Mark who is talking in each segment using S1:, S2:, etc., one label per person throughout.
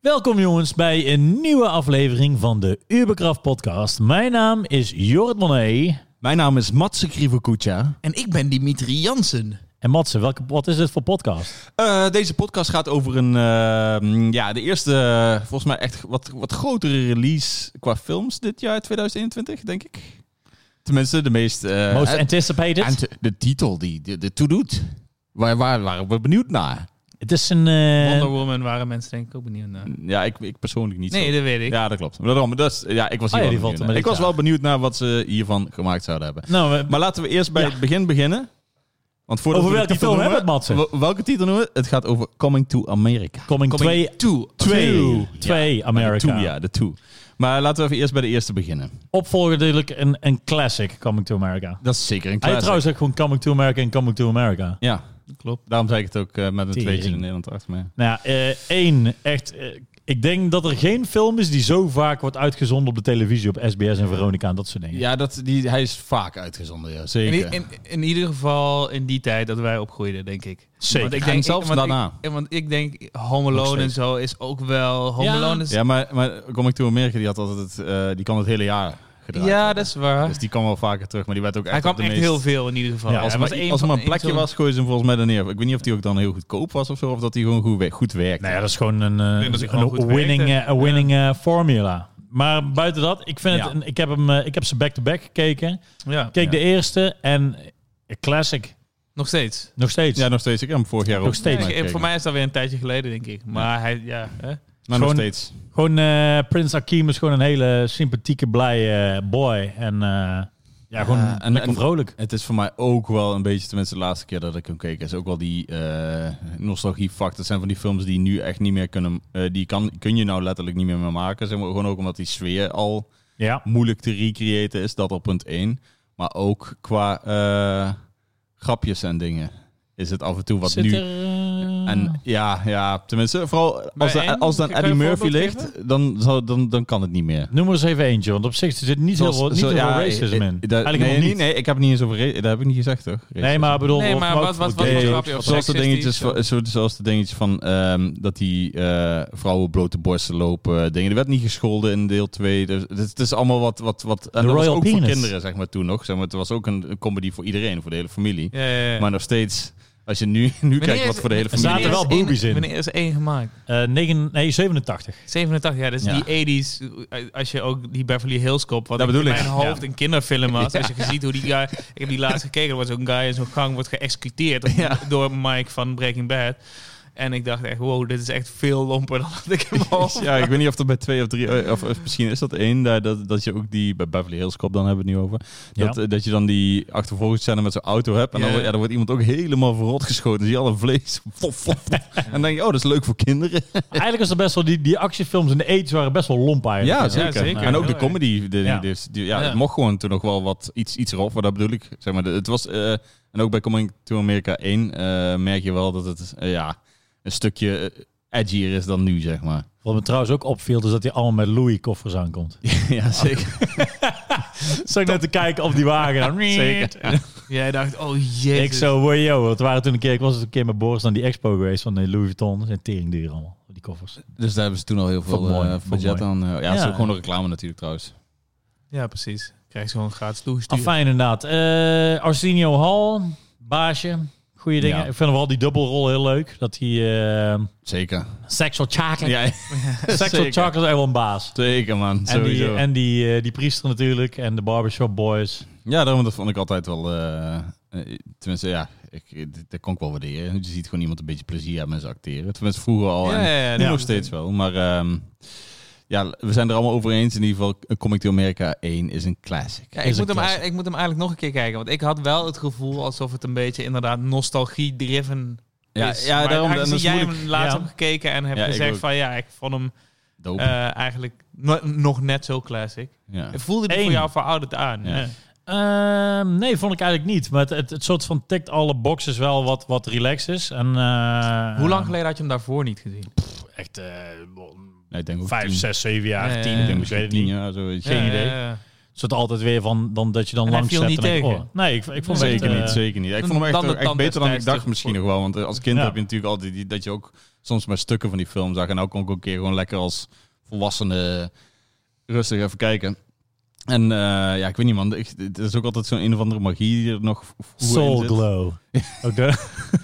S1: Welkom jongens bij een nieuwe aflevering van de Uberkraft podcast. Mijn naam is Jorrit Monet.
S2: Mijn naam is Matze Krivokucha.
S3: En ik ben Dimitri Jansen.
S1: En Matze, welke, wat is het voor podcast?
S2: Eh, deze podcast gaat over een, eh, ja, de eerste, eh, volgens mij echt wat, wat grotere release qua films dit jaar, 2021, denk ik. Tenminste, de meest... eh,
S1: Most
S2: en-
S1: anticipated.
S2: en te- de titel die de, de toe doet. Waar, waar waren we benieuwd naar?
S1: het is een... eh,
S3: Wonder Woman waren mensen denk ik ook benieuwd naar.
S2: Ja, ik, ik persoonlijk niet
S3: Nee,
S2: zo.
S3: dat weet ik.
S2: Ja, dat klopt. Maar Daarom, dat is- ja, ik was,
S1: Ah,
S2: hier
S1: ja, die
S2: wel
S1: valt er
S2: benieuwd naar.
S1: met
S2: ik was
S1: elkaar.
S2: wel benieuwd naar wat ze hiervan gemaakt zouden hebben.
S1: nou, eh,
S2: Maar laten we eerst bij
S1: Ja.
S2: het begin beginnen. Want voordat
S1: Over
S2: we de
S1: welke
S2: titel
S1: film
S2: noemen-
S1: hebben we het, Matze?
S2: wel- Welke titel noemen we? Het gaat over Coming to America.
S1: Coming 2
S3: Toe.
S2: Two.
S1: 2 2
S2: De two,
S1: America.
S2: ja, de two. Maar laten we even eerst bij de eerste beginnen.
S1: Opvolger natuurlijk een, een classic Coming to America.
S2: Dat is zeker een
S1: Hij
S2: classic.
S1: trouwens ook gewoon Coming to America en Coming to America.
S2: Ja,
S3: Klopt.
S2: daarom zei ik het ook eh, met een
S1: Tering.
S2: tweetje in Nederland achter me.
S1: Nou ja, eh, één, echt. eh, ik denk dat er geen film is die zo vaak wordt uitgezonden op de televisie, op SBS en Veronica en dat soort dingen.
S2: Ja, dat, die, hij is vaak uitgezonden, ja,
S3: In,
S2: zeker.
S3: i- in, in ieder geval in die tijd dat wij opgroeiden, denk ik.
S1: Zeker.
S3: Want ik
S2: En
S3: denk,
S2: zelfs
S3: want
S2: daarna.
S3: Ik, want ik denk, Home
S2: Nog
S3: Alone
S2: steeds.
S3: en zo is ook wel... Home
S1: Ja.
S3: Alone is...
S2: ja, maar, maar Coming to America, die, had altijd het, eh, die kan het hele jaar gedraaid
S3: Ja,
S2: worden.
S3: dat is waar.
S2: Dus die kwam wel vaker terug, maar die werd ook echt
S3: Hij kwam
S2: op de
S3: echt
S2: meest-
S3: heel veel in ieder geval.
S1: Ja,
S3: Hij
S2: Als er
S3: was
S2: maar,
S3: één
S2: als er
S3: van-
S2: maar een plekje
S3: één zo'n-
S2: was, gooien ze hem volgens mij er neer. Ik weet niet of die ook dan heel goedkoop was of zo, of dat die gewoon goed, we- goed werkt.
S1: Nou ja, dat is gewoon een, eh,
S3: denk dat hij
S1: een
S3: gewoon goed
S1: winning,
S3: werkt, hè?
S1: eh, een winning eh, formula. Maar buiten dat, ik, vind
S2: Ja.
S1: het een- ik, heb hem, eh, ik heb ze back-to-back gekeken. Ik
S3: Ja,
S1: keek
S2: Ja.
S1: de eerste en eh, classic,
S3: nog steeds.
S1: nog steeds.
S2: Ja, nog steeds. Ik heb hem vorig jaar ook.
S1: Nog steeds.
S2: naar
S3: Ja, ik-
S2: gekeken.
S3: voor mij is dat weer een tijdje geleden, denk ik. Maar hij, ja... Hè?
S2: Maar nog
S1: Gewoon-
S2: steeds.
S1: Gewoon eh, Prins Akim is gewoon een hele sympathieke, blije boy. En eh, ja, gewoon
S2: Ja, en-
S1: lekker
S2: en-
S1: vrolijk.
S2: Het is voor mij ook wel een beetje, tenminste de laatste keer dat ik hem keek, is ook wel die eh nostalgie-factor. Het zijn van die films die nu echt niet meer kunnen, eh, die kan, kun je nou letterlijk niet meer mee maken. Zeg maar, gewoon ook omdat die sfeer al
S1: Ja.
S2: moeilijk te recreëren is, dat op punt 1. Maar ook qua eh, grapjes en dingen is het af en toe wat
S1: Zit
S2: nu...
S1: er, eh,
S2: En ja, ja, tenminste, vooral
S3: Bij
S2: als, de,
S3: één?
S2: als dan
S3: Kan je
S2: Eddie
S3: een
S2: Murphy
S3: voorbeeld
S2: ligt, dan, zal- dan, dan kan het niet meer.
S1: Noem er eens even eentje, want op zich zit niet heel
S2: Zoals-
S1: veel, niet
S2: zo-
S1: heel veel
S2: ja,
S1: racism
S2: eh,
S1: in.
S2: eh, daar-
S1: Eigenlijk nog
S2: nee,
S1: niet.
S2: Nee, ik heb het niet eens over... ra- Dat heb ik niet gezegd, toch?
S1: Nee, maar ik bedoel...
S3: Nee,
S1: of
S3: maar
S1: nou
S3: wat- wat-
S1: ook-
S3: wat-
S1: Nee,
S3: wat-
S1: joh.
S3: grapje of
S2: zoals de
S3: seksistisch
S2: dingetjes,
S3: of
S2: van, zo- zoals de dingetjes van ehm, dat die eh, vrouwen blote borsten lopen, dingen. Er werd niet gescholden in deel 2. Dus, het is- het is allemaal wat... wat, wat en
S1: The
S2: dat was
S1: Royal
S2: ook voor
S1: Penis.
S2: kinderen, zeg maar, toen nog. Zeg maar, het was ook een, een comedy voor iedereen, voor de hele familie.
S3: Ja, ja, ja.
S2: Maar nog steeds, als je nu, nu kijkt wat voor de hele
S1: er zaten
S2: familie is.
S1: wel
S3: is één-
S1: boobies in.
S3: Wanneer is er één gemaakt?
S1: Eh, negen- nee, 87.
S3: 87 jaar, dus
S2: Ja.
S3: die 80s. Als je ook die Beverly Hills kop, wat
S2: Dat
S3: ik in
S2: bedoel ik.
S3: mijn hoofd
S2: Ja.
S3: een kinderfilm was. Als je ziet hoe die guy, ik heb die laatst gekeken, er wordt zo'n guy in zo'n gang wordt geëxecuteerd op-
S2: Ja.
S3: door Mike van Breaking Bad. En ik dacht echt, wow, dit is echt veel lomper dan dat ik hem al.
S2: Ja, ik weet niet of dat bij twee of drie, eh, of, of misschien is dat één, daar, dat, dat je ook die, bij Beverly Hills Cop dan hebben we het nu over, dat,
S1: Ja.
S2: eh, dat je dan die achtervolgingsscène met zo'n auto hebt en dan,
S3: Ja.
S2: wordt- ja, dan wordt iemand ook helemaal verrot geschoten, dan zie je al een vlees, Fof, fof, fof. en dan denk je, oh, dat is leuk voor kinderen.
S1: Eigenlijk was het best wel... Die, die actiefilms in de aids waren best wel lomp eigenlijk.
S2: Ja,
S3: Ja,
S2: zeker.
S3: zeker.
S2: En ook de
S3: Heel erg.
S2: comedy, de,
S1: Ja.
S2: Dus, die- ja,
S3: Ja.
S2: het mocht gewoon toen nog wel wat, iets, iets erop, maar dat bedoel ik, zeg maar, de- het was, eh, en ook bij Coming to America 1 eh, merk je wel dat het, eh, ja, een stukje eh, edgier is dan nu, zeg maar.
S1: Wat me trouwens ook opviel, is dat hij allemaal met Louis-koffers aankomt.
S2: ja, zeker.
S1: Zag ik net te kijken op die wagen. Dan-
S2: Zeker.
S3: Jij dacht, oh jezus.
S1: Ik zo, wow, yo. Het waren toen een keer, ik was eens een keer met Boris aan die expo geweest van eh, Louis Vuitton. Dat zijn tering duur allemaal, die koffers.
S2: Dus daar hebben ze toen al heel
S1: Vond
S2: veel
S1: ik mooi,
S2: eh,
S1: vond ik
S2: budget
S1: mooi.
S2: aan. eh, ja, het is
S1: Ja.
S2: ook gewoon een reclame natuurlijk trouwens.
S3: Ja, precies. Krijg je gewoon gratis toegestuurd.
S1: Afijn Ah, inderdaad. Eh, Arsenio Hall, baasje. Goeie dingen.
S2: Ja.
S1: Ik vind vooral die dubbelrol heel leuk. Dat hij... eh,
S2: Zeker.
S1: sexual chocolate.
S2: Ja,
S1: sexual
S2: zeker.
S1: chocolate is echt wel een baas.
S2: Zeker man,
S1: En,
S2: sowieso.
S1: die, en die, eh, die priester natuurlijk. En de barbershop boys.
S2: Ja, daarom dat vond ik altijd wel... eh, eh, tenminste, ja, ik, eh, dit- dat kon ik wel waarderen. Je ziet gewoon iemand een beetje plezier hebben met ze acteren. Tenminste, vroeger al en
S3: ja,
S2: nu
S3: ja.
S2: nog steeds wel. Maar ehm, ja, we zijn er allemaal over eens. In ieder geval, eh, Comic to America 1 is een classic.
S3: Ja,
S1: Is
S3: ik,
S1: een
S3: moet hem,
S1: classic.
S3: eigenlijk- ik moet hem eigenlijk nog een keer kijken. Want ik had wel het gevoel alsof het een beetje inderdaad nostalgie-driven
S2: Ja,
S3: is.
S2: ja
S3: Maar
S2: daarom...
S3: aangezien
S2: Dan is
S3: jij
S2: moeilijk.
S3: hem laatst
S1: Ja.
S3: hebt gekeken en hebt
S2: Ja, ik ook.
S3: gezegd van ja, ik vond hem
S2: Dope.
S3: eh, eigenlijk no- nog net zo classic.
S2: ja.
S3: Voelde die
S1: Eén.
S3: voor jou verouderd aan?
S2: Ja.
S3: Ja.
S1: Ehm, nee, vond ik eigenlijk niet. Maar het, het, het soort van tikt alle boxes wel wat, wat relaxed is. En, eh,
S3: Hoe lang geleden had je hem daarvoor niet gezien?
S1: Echt eh, wel
S2: Nee, ik denk ook
S1: vijf,
S2: tien.
S1: zes, zeven jaar,
S3: Ja, ja,
S1: tien.
S3: ja.
S1: Ik
S2: Ik denk
S1: denk, ik weet
S2: misschien
S1: het
S2: tien
S1: niet.
S2: jaar, zoiets.
S1: Geen
S3: Ja,
S1: idee.
S3: ja, ja.
S1: Het soort altijd weer van dan dat je dan
S3: En hij
S1: langs
S3: viel
S1: zet en
S3: niet
S1: denk,
S3: tegen.
S1: oh, nee, ik, ik vond
S2: Zeker
S1: het, eh,
S2: niet, zeker niet. Ik
S3: dan-
S2: vond hem echt,
S3: dan de
S2: echt beter dan ik
S3: tandarts
S2: dacht misschien nog wel. Want eh, als kind
S1: Ja.
S2: heb je natuurlijk altijd die, dat je ook soms maar stukken van die film zag. En nou kon ik ook een keer gewoon lekker als volwassene eh, rustig even kijken. En eh, ja, ik weet niet man, ik- het is ook altijd zo'n een of andere magie die er nog v- vroeger in
S1: Soul
S2: zit.
S1: Glow. Ook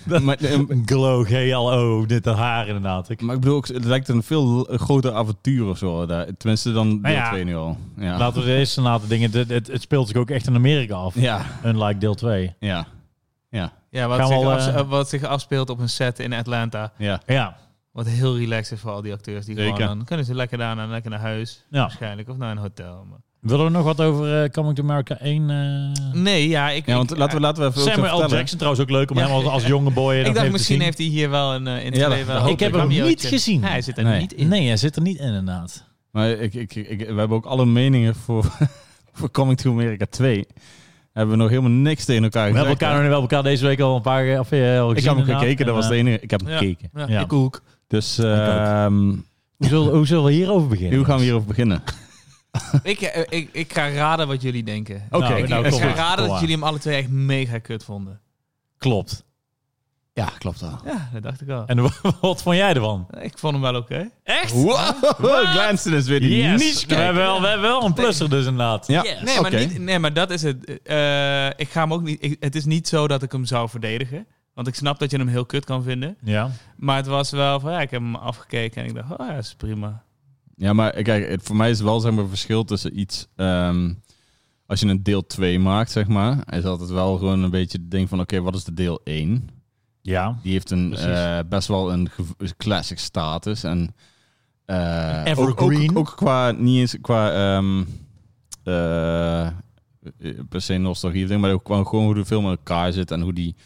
S1: de
S2: Maar, eh,
S1: Glow, G-L-O, dit haar inderdaad. Ik,
S2: maar ik bedoel, ook, het lijkt een veel groter avontuur of zo. eh, Daar. Tenminste dan deel
S1: Nou ja.
S2: 2 nu al. Ja.
S1: Laten we de eerste na te dingen, het, het, het speelt zich ook echt in Amerika af.
S2: ja,
S1: Unlike deel 2.
S2: ja, ja,
S3: Ja, wat
S1: Gaan we
S3: zich,
S1: al,
S3: afs-
S1: eh,
S3: eh, wat zich afspeelt op een set in Atlanta.
S2: ja.
S1: Ja,
S3: Wat heel relaxed is voor al die acteurs. Die
S2: Zeker.
S3: gewoon, dan kunnen ze lekker daarna lekker naar huis.
S1: ja.
S3: Waarschijnlijk. Of naar een hotel. maar-
S1: Willen we nog wat over eh, Coming to America 1? eh
S3: Nee, ja. Ik,
S2: Ja, want
S3: ik-
S2: laten we, laten we even ook zo
S1: Samuel L.
S2: vertellen.
S1: Jackson trouwens ook leuk om
S3: Ja.
S1: hem als, als jonge boy
S3: ik
S1: nog
S3: dacht,
S1: even
S3: misschien
S1: te zien.
S3: heeft hij hier wel een eh, in het
S2: Ja, dat-
S3: leven
S2: dat
S3: wel
S1: Ik heb
S3: een
S1: hem niet
S3: cameootje.
S1: gezien.
S3: Nee, hij zit er
S2: Nee.
S3: niet in.
S1: Nee, hij zit er niet in inderdaad.
S2: Maar ik, ik, ik, we hebben ook alle meningen voor, voor Coming to America 2. Hebben we nog helemaal niks tegen elkaar
S1: We hebben
S2: gezegd,
S1: elkaar nog
S2: hè?
S1: niet wel elkaar deze week al een paar keer of, eh, al gezien
S2: Ik heb hem
S1: inderdaad.
S2: gekeken, dat
S1: En,
S2: was
S1: eh,
S2: het enige. Ik heb hem
S3: Ja.
S2: gekeken.
S3: Ja,
S1: Ja.
S3: Ik ook.
S2: Dus ehm,
S1: Hoe zullen, hoe zullen we hierover beginnen?
S2: hoe gaan we hierover beginnen?
S3: ik, eh, ik, ik ga raden wat jullie denken.
S2: Oké,
S1: Nou,
S3: ik
S1: nou,
S3: ik
S1: kom
S3: ga
S1: maar, kom
S3: raden dat
S1: maar.
S3: jullie hem alle twee echt mega kut vonden.
S1: Klopt.
S2: Ja, klopt wel.
S3: Ja, dat dacht ik al.
S1: En wat vond jij ervan?
S3: Ik vond hem wel oké. Echt?
S2: Wow, Glanston is weer die niche
S1: We
S2: kijken.
S1: hebben, wel, we hebben wel een plusser dus inderdaad.
S2: Ja,
S3: Nee, maar
S2: oké.
S3: niet, nee, maar dat is het. Eh, ik ga hem ook niet. ik- het is niet zo dat ik hem zou verdedigen. Want ik snap dat je hem heel kut kan vinden.
S1: Ja.
S3: Maar het was wel van ja, ik heb hem afgekeken en ik dacht, oh ja, is prima.
S2: Ja, maar kijk, het, voor mij is wel zeg maar, een verschil tussen iets... ehm, als je een deel 2 maakt, zeg maar... is altijd wel gewoon een beetje het ding van... oké, wat is de deel 1?
S1: Ja.
S2: Die heeft een,
S3: Precies.
S2: eh, best wel een gev- classic status. En, eh,
S1: Een evergreen.
S2: Ook, ook, ook qua, niet eens qua ehm, eh, per se nostalgie, of ding, maar ook qua, gewoon hoe de film in elkaar zit en hoe die,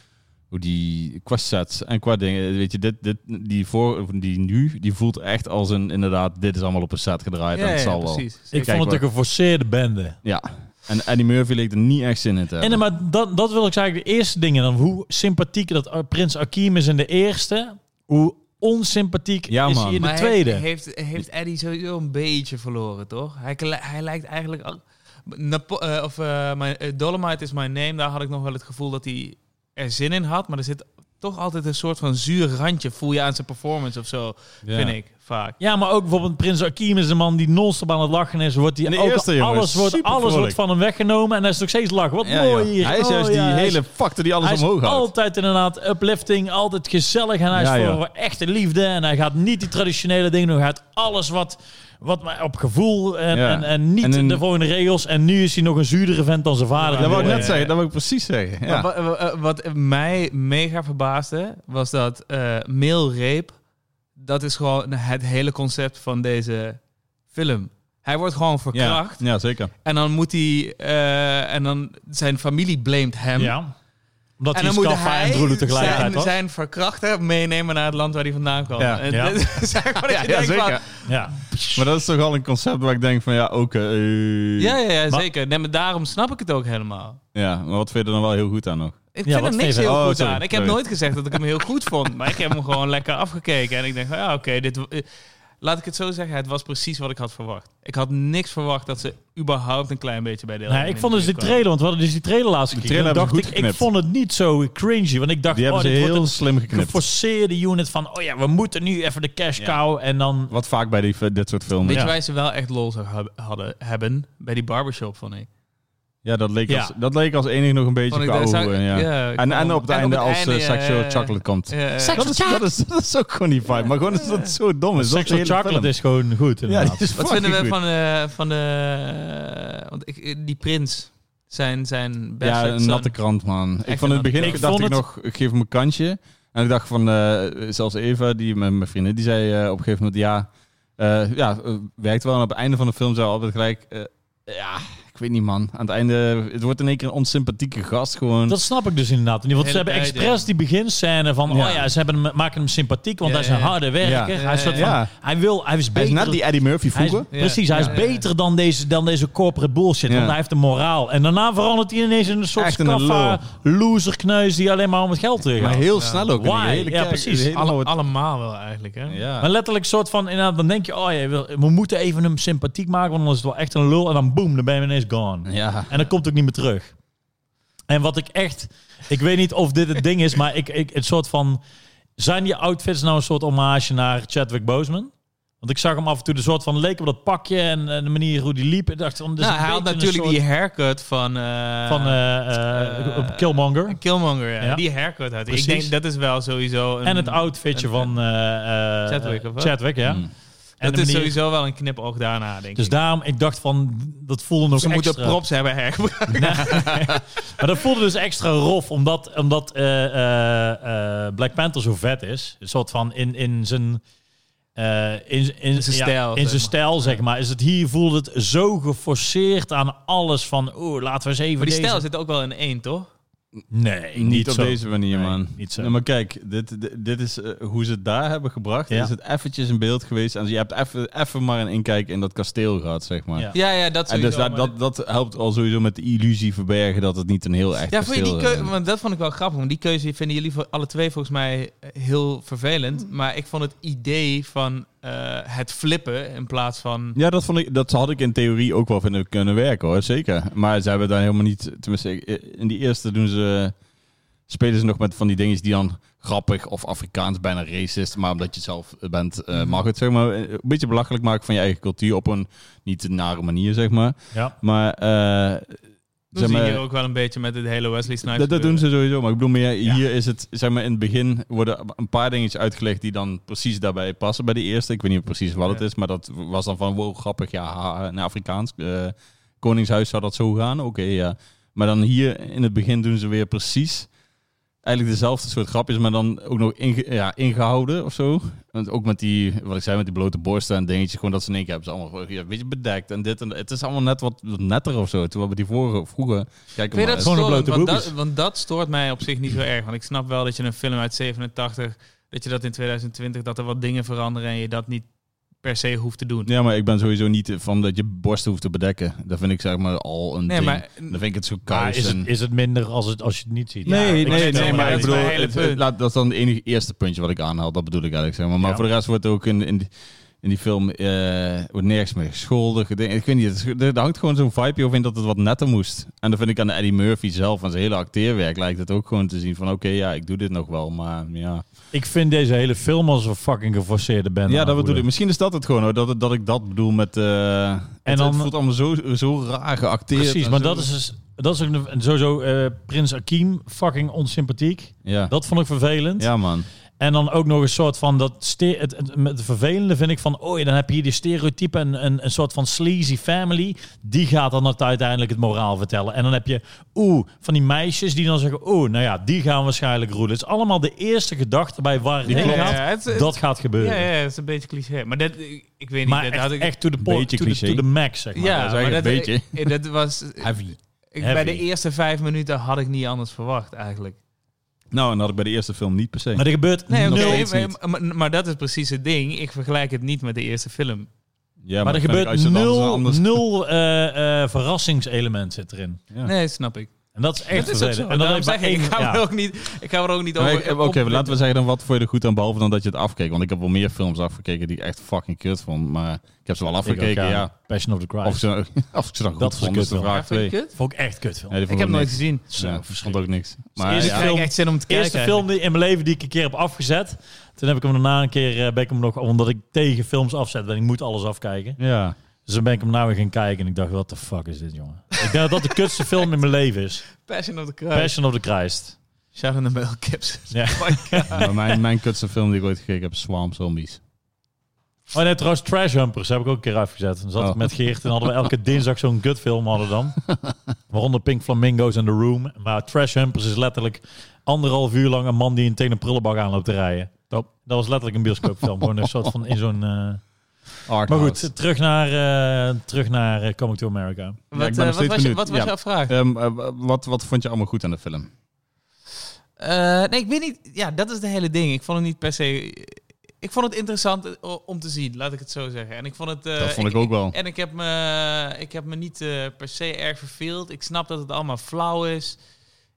S2: hoe die qua sets en qua dingen. Weet je, dit, dit, die, voor, die nu, die voelt echt als een, inderdaad, dit is allemaal op een set gedraaid en het zal wel.
S3: precies.
S1: Ik
S3: Zeker.
S2: Kijk,
S1: vond het
S2: maar-
S1: een geforceerde bende.
S2: Ja, en Eddie Murphy leek er niet echt zin in te
S1: En
S2: hebben.
S1: dan, maar dat, dat wil ik zeggen, de eerste dingen dan. Hoe sympathiek dat eh, Prins Akim is in de eerste. Hoe onsympathiek
S2: Ja,
S1: is
S2: man.
S1: hij in de
S3: Maar
S1: tweede.
S3: Heeft, heeft, heeft Eddie sowieso een beetje verloren, toch? Hij, kle- hij lijkt eigenlijk. al- Napo- eh, of, eh, my, eh, Dolomite is my name. Daar had ik nog wel het gevoel dat hij er zin in had. Maar er zit toch altijd een soort van zuur randje. Voel je aan zijn performance of zo,
S2: Ja.
S3: vind ik vaak.
S1: Ja, maar ook bijvoorbeeld Prins Akim is een man die non-stop aan het lachen is. Wordt die,
S2: En de
S1: ook
S2: eerste, jongen,
S1: alles wordt,
S2: super
S1: alles wordt
S2: vrolijk.
S1: van hem weggenomen en hij is nog steeds lachen. Wat
S2: Ja,
S1: mooi
S2: joh.
S1: hier.
S2: Hij is
S1: Oh,
S2: juist
S1: ja,
S2: die
S1: hij is-
S2: hele factor die alles
S1: hij is
S2: omhoog houdt.
S1: altijd inderdaad uplifting, altijd gezellig en hij
S2: Ja,
S1: is voor
S2: joh.
S1: echte liefde. En hij gaat niet die traditionele dingen doen. Hij gaat alles wat, wat maar op gevoel en,
S2: Ja.
S1: en, en niet
S2: En een-
S1: de volgende regels. En nu is hij nog een zuurdere vent dan zijn vader.
S2: Dat wou ik
S1: Ja,
S2: net
S1: ja.
S2: zeggen, dat wou ik precies zeggen. Ja.
S3: Maar wa- wa- eh, wat, mij mega verbaasde, was dat eh mailreep, dat is gewoon het hele concept van deze film. Hij wordt gewoon
S2: Ja,
S3: verkracht
S2: ja, zeker.
S3: en dan moet hij, eh, en dan zijn familie blamed hem.
S1: Ja. Omdat
S3: En
S1: hij
S3: dan moet
S1: Scaffa en Droelen
S3: hij
S1: tegelijkertijd
S3: zijn,
S1: was.
S3: zijn verkrachter meenemen naar het land waar hij vandaan kwam.
S2: Ja.
S3: En
S1: Ja.
S3: dit is eigenlijk wat ik
S2: Ja,
S3: denk van-
S2: zeker.
S1: Ja.
S2: Maar dat is toch al een concept waar ik denk van ja, oké. eh,
S3: Ja, ja, ja,
S1: Maar-
S3: zeker. Nee, maar daarom snap ik het ook helemaal.
S2: Ja, maar wat vind je er dan wel heel goed aan nog?
S1: Ja,
S3: Ik vind
S1: wat
S3: hem niks
S1: vind je-
S3: heel
S2: oh,
S3: goed
S2: sorry,
S3: aan. Ik heb
S2: sorry.
S3: nooit gezegd dat ik hem heel goed vond. Maar ik heb hem gewoon lekker afgekeken. En ik denk, van, ja, oké, dit... eh, Laat ik het zo zeggen, het was precies wat ik had verwacht. Ik had niks verwacht dat ze überhaupt een klein beetje bij de
S1: Nee, ik vond dus de trailer, want we hadden dus die trailer laatst
S2: De
S1: gekeken.
S2: trailer
S1: Toen
S2: hebben
S1: dacht
S2: ze
S1: ik,
S2: goed
S1: ik vond het niet zo cringy. Want ik dacht,
S2: Die
S1: oh,
S2: hebben
S1: dit
S2: ze
S1: wordt
S2: heel
S1: een
S2: slim geknipt.
S1: geforceerde unit van... Oh ja, we moeten nu even de cash
S2: Ja.
S1: cow. En dan
S2: Wat vaak bij die, dit soort filmen.
S3: Weet
S2: Ja,
S3: je waar ze wel echt lol zou hab- hadden, hebben? Bij die barbershop, vond ik.
S2: dat, leek
S1: Ja.
S2: Als, dat leek als enig nog een beetje
S3: Vond ik
S2: qua
S3: daar zou-
S2: over, ja.
S3: ja, ik
S2: en,
S3: vond-
S2: en op het einde als eh,
S3: einde,
S2: Sexual
S3: eh,
S2: Chocolate komt.
S3: eh,
S2: Dat is, dat, is, dat is ook gewoon die vibe. Maar gewoon is dat het zo dom is. Dat is de
S1: Sexual
S2: hele
S1: Chocolate
S2: film.
S1: is gewoon goed,
S2: Ja,
S1: inderdaad.
S2: die is
S3: Wat vinden we
S2: fucking goed.
S3: van, eh, van de. want ik, eh, die prins. Zijn, zijn best.
S2: Ja, een natte krant, man. Ik
S3: Echt
S2: vond in
S3: een
S2: het begin
S1: natte
S2: dacht
S1: krant.
S2: ik
S1: Ik
S2: nog, ik geef hem een kansje. En ik dacht van, eh, zelfs Eva, die mijn, mijn vriendin, die zei eh, op een gegeven moment, ja, eh, ja, eh, werkt wel. En op het einde van de film zei altijd gelijk, eh, ja, ik weet niet, man. Aan het einde, het wordt in één keer een onsympathieke gast gewoon.
S1: Dat snap ik dus inderdaad niet. Want ze
S3: Hele
S1: hebben
S3: beide.
S1: expres die beginscène van...
S2: Ja.
S1: Oh ja, ze hebben hem, maken hem sympathiek, want
S3: Ja,
S1: hij is een
S3: ja, ja.
S1: harde werker.
S3: Ja.
S1: Hij, is soort van,
S2: Ja.
S1: hij, wil, hij is
S2: Hij is
S1: beter...
S2: net die Eddie Murphy
S1: hij is-
S2: vroeger.
S3: Ja.
S1: Precies, hij is
S3: Ja.
S1: beter dan deze, dan deze corporate bullshit.
S2: Ja.
S1: Want hij heeft een moraal. En daarna verandert hij ineens in een soort
S2: Echt in een
S1: scaffa, loserkneus die alleen maar om het geld terug
S2: Maar
S1: gaat.
S2: heel
S3: Ja.
S2: snel ook. in die
S1: Why?
S2: hele
S1: Ja,
S2: kerk-
S1: precies.
S2: de hele-
S3: Alle, allemaal wel eigenlijk. Hè?
S2: ja.
S1: Maar letterlijk soort van, inderdaad, dan denk je... Oh ja, we, we moeten even hem sympathiek maken, want dan is het wel echt een lul. En dan boom, dan ben je ineens gone.
S2: ja.
S1: En dat komt ook niet meer terug. En wat ik echt... Ik weet niet of dit het ding is, maar ik, ik het soort van... Zijn die outfits nou een soort hommage naar Chadwick Boseman? Want ik zag hem af en toe de soort van leek op dat pakje en, en de manier hoe die liep. Ik dacht van, dit is
S3: Nou,
S1: een
S3: hij had
S1: beetje een
S3: natuurlijk die
S1: soort
S3: haircut van... eh,
S1: van eh, eh,
S3: eh,
S1: Killmonger.
S3: Killmonger, ja.
S1: Ja.
S3: Die haircut had hij. Ik
S1: Precies.
S3: denk, dat is wel sowieso... Een,
S1: En het outfitje
S3: een-
S1: van eh, eh,
S3: Chadwick, of wat? Hmm.
S1: Chadwick, ja.
S2: Mm.
S1: En
S3: Dat
S1: de
S3: is
S1: manier-
S3: sowieso wel een knipoog daarna, denk
S1: Dus
S3: ik.
S1: daarom, ik dacht van, dat voelde nog
S3: Ze moeten
S1: extra.
S3: props hebben hergebruikt.
S1: Maar dat voelde dus extra rof, omdat, omdat eh, eh, eh, Black Panther zo vet is. Een soort van in, in zijn... eh, in, in,
S3: zijn
S1: ja, in
S3: stijl, zeg
S1: zijn
S3: maar.
S1: stijl, zeg maar. Is het hier voelde het zo geforceerd aan alles van... Oeh, laten we eens even
S3: Maar die
S1: deze-
S3: stijl zit ook wel in één, toch?
S1: Nee, niet,
S2: Niet, op
S1: zo.
S2: deze manier,
S1: Nee,
S2: man.
S1: niet zo.
S2: Nee, maar kijk, dit, dit, dit is eh, hoe ze het daar hebben gebracht.
S1: Ja.
S2: Is het eventjes in beeld geweest. En je hebt even, even maar een inkijk in dat kasteel gehad, zeg maar.
S1: Ja.
S3: Ja, ja, dat
S2: En
S3: sowieso.
S2: dus dat,
S3: maar
S2: dat, dat helpt al sowieso met de illusie verbergen dat het niet een heel echt
S3: Ja, vond je
S2: kasteel
S3: die
S2: is.
S3: keuze, want dat vond ik wel grappig. Want die keuze vinden jullie voor alle twee volgens mij eh, heel vervelend. Maar ik vond het idee van eh, het flippen in plaats van...
S2: Ja, dat, vond ik, dat had ik in theorie ook wel vinden kunnen werken hoor, zeker. Maar ze hebben daar helemaal niet. Tenminste, ik- in die eerste doen ze. Spelen ze nog met van die dingetjes die dan grappig of Afrikaans bijna racist, maar omdat je zelf bent, eh, mag het zeg maar. Een beetje belachelijk maken van je eigen cultuur op een niet te nare manier, zeg maar.
S1: Ja.
S2: Maar. eh,
S3: Dat
S2: zeg
S3: zie je
S2: maar,
S3: hier ook wel een beetje met het hele Wesley Snipes
S2: dat, dat doen
S3: gebeuren.
S2: ze sowieso, maar ik bedoel meer,
S1: Ja.
S2: hier is het, zeg maar, in het begin worden een paar dingetjes uitgelegd die dan precies daarbij passen bij die eerste. Ik weet niet precies wat het
S3: Ja.
S2: is, maar dat was dan van, wow, grappig, ja, haha, een Afrikaans eh, koningshuis zou dat zo gaan, oké, ja. Maar dan hier in het begin doen ze weer precies eigenlijk dezelfde soort grapjes, maar dan ook nog inge- ja, ingehouden of zo. Want ook met die, wat ik zei, met die blote borsten en dingetjes, gewoon dat ze in één keer hebben ze allemaal ja, een beetje bedekt en dit en dat. Het is allemaal net wat, wat netter of zo, terwijl we die vorige, vroeger, kijk
S3: Vind je dat
S2: eens.
S1: Gewoon een
S3: storend?
S1: blote
S3: want,
S1: boobies.
S3: dat, want dat stoort mij op zich niet zo erg. Want ik snap wel dat je een film uit 87, dat je dat in 2020, dat er wat dingen veranderen en je dat niet per se hoeft te doen.
S2: Ja, maar ik ben sowieso niet van dat je borst hoeft te bedekken. Dat vind ik zeg maar al een
S3: Nee,
S2: ding.
S3: maar
S2: Dan vind ik het zo
S1: Maar
S2: koud.
S1: is, het, is het minder als, het, als je het niet ziet?
S2: Nee,
S1: Ja, ik
S2: nee,
S1: snap
S2: nee,
S1: wel
S2: maar
S1: wat
S2: ik
S1: je
S2: bedoel,
S1: bedoelt.
S3: mijn hele
S2: het-
S3: punt.
S2: het- laat- dat is dan het enige eerste puntje wat ik aanhaal. Dat bedoel ik eigenlijk, zeg maar. Maar
S1: Ja.
S2: voor de rest wordt ook in, in, die, in die film eh, wordt nergens meer gescholden. geding- Ik weet niet, het is- er hangt gewoon zo'n vibe over in dat het wat netter moest. En dat vind ik aan Eddie Murphy zelf, van zijn hele acteerwerk, lijkt het ook gewoon te zien van, oké, ja, ik doe dit nog wel, maar ja.
S1: Ik vind deze hele film als een fucking geforceerde band.
S2: Ja, dat bedoel
S1: aanvoelen.
S2: ik. Misschien is dat het gewoon, hoor, dat, dat ik dat bedoel met... eh, het,
S1: dan-
S2: het voelt allemaal zo, zo raar geacteerd.
S1: Precies,
S2: en
S1: maar
S2: zo.
S1: dat is, dus- dat is ook een- sowieso eh, Prins Akim fucking onsympathiek.
S2: Ja.
S1: Dat vond ik vervelend.
S2: Ja, man.
S1: En dan ook nog een soort van dat ste- het, het, met het vervelende vind ik van, oh ja, dan heb je hier die stereotype en een, een soort van sleazy family. Die gaat dan het uiteindelijk het moraal vertellen. En dan heb je, oeh, van die meisjes die dan zeggen, oeh, nou ja, die gaan waarschijnlijk roelen. Het is allemaal de eerste gedachte bij waar het
S2: Die
S1: heen
S2: klopt.
S1: gaat.
S3: Ja, het is-
S1: Dat gaat gebeuren.
S3: ja, ja, het is een beetje cliché. Maar dat, ik, ik weet niet.
S1: Maar
S3: dat
S1: echt,
S3: had ik,
S1: echt to the point,
S2: Beetje
S1: to the,
S2: cliché.
S1: to the max, zeg maar.
S3: ja,
S2: dat is
S3: maar dat,
S2: eigenlijk een
S3: eh, dat was.
S2: Heavy.
S3: ik-
S1: Heavy.
S3: bij de eerste vijf minuten had ik niet anders verwacht eigenlijk.
S2: Nou, en dat had ik bij de eerste film niet per se.
S1: Maar er gebeurt
S3: Nee,
S1: nul.
S3: oké,
S2: nog steeds
S3: maar-
S2: niet.
S3: maar, maar dat is precies het ding. Ik vergelijk het niet met de eerste film.
S2: ja,
S1: maar er
S2: vind ik als je
S1: gebeurt
S2: het anders-
S1: nul,
S2: anders-
S1: nul eh, eh, verrassingselement zit erin.
S2: Ja.
S3: Nee, snap ik.
S1: En dat is echt
S3: dat is ook
S1: vervelend.
S3: zo.
S1: En
S3: En dan
S1: heeft
S3: zeg
S1: maar
S3: ik, ik
S1: één-
S3: ga,
S1: ja.
S3: er ook niet, ik ga er ook niet
S2: Maar
S3: over.
S2: ik- Oké,
S3: opwinden.
S2: laten we zeggen dan wat voor je er goed aan behalve dan dat je het afkeek. Want ik heb wel meer films afgekeken die ik echt fucking kut vond. Maar ik heb ze wel
S1: Ik ook,
S2: afgekeken, ja.
S1: Passion of the Christ.
S2: Of, ik ze, of ik ze dan goed
S1: Dat was
S2: vond,
S1: een
S2: is de
S1: kutfilm.
S2: vraag
S3: Ja, vind
S2: twee.
S3: ik kut.
S1: Vond ik echt kut film.
S2: Nee, die vond
S3: Ik heb
S2: niks.
S3: nooit gezien.
S1: Zo,
S2: Ja, ik vond ook niks. Maar
S1: eerste
S3: Dus ik
S2: ja,
S1: film-
S3: krijg echt zin om te kijken.
S1: eerste film die in mijn leven die ik een keer heb afgezet. Toen heb ik hem daarna een keer, eh, ben ik hem nog, omdat ik tegen films afzet ben, ik moet alles afkijken.
S2: ja.
S1: Dus dan ben ik hem nou weer gaan kijken en ik dacht, wat the fuck is dit, jongen? ik denk dat dat de kutste film in mijn leven is.
S3: Passion of the Christ.
S1: Passion of the Christ.
S3: Shout out naar Mel Gibson.
S1: Ja.
S2: Maar mijn, mijn kutste film die ik ooit gekeken heb is Swamp Zombies.
S1: Oh nee, trouwens, Trash Humpers heb ik ook een keer afgezet. Dan zat ik
S2: Oh.
S1: met Geert en hadden we elke dinsdag zo'n gutfilm hadden dan. Waaronder Pink Flamingo's en The Room. Maar Trash Humpers is letterlijk anderhalf uur lang een man die een tegen een prullenbak aan loopt te rijden.
S2: Top.
S1: Dat was letterlijk een bioscoopfilm. Gewoon een soort van in zo'n... eh, Maar
S2: Arthouse.
S1: goed, terug naar, eh, terug naar eh, Coming to America.
S2: Ja,
S3: Wat,
S2: ik ben nog
S3: eh, wat
S2: steeds
S3: was, je,
S2: benieuwd.
S3: wat was
S2: Ja.
S3: jouw vraag?
S2: Ehm, eh, wat, wat vond je allemaal goed aan de film?
S3: Eh, nee, ik weet niet. Ja, dat is de hele ding. Ik vond het niet per se. Ik vond het interessant eh, om te zien, laat ik het zo zeggen. En ik vond het. eh,
S2: dat vond ik, ook wel.
S3: En ik heb me, ik heb me niet eh, per se erg verveeld. Ik snap dat het allemaal flauw is.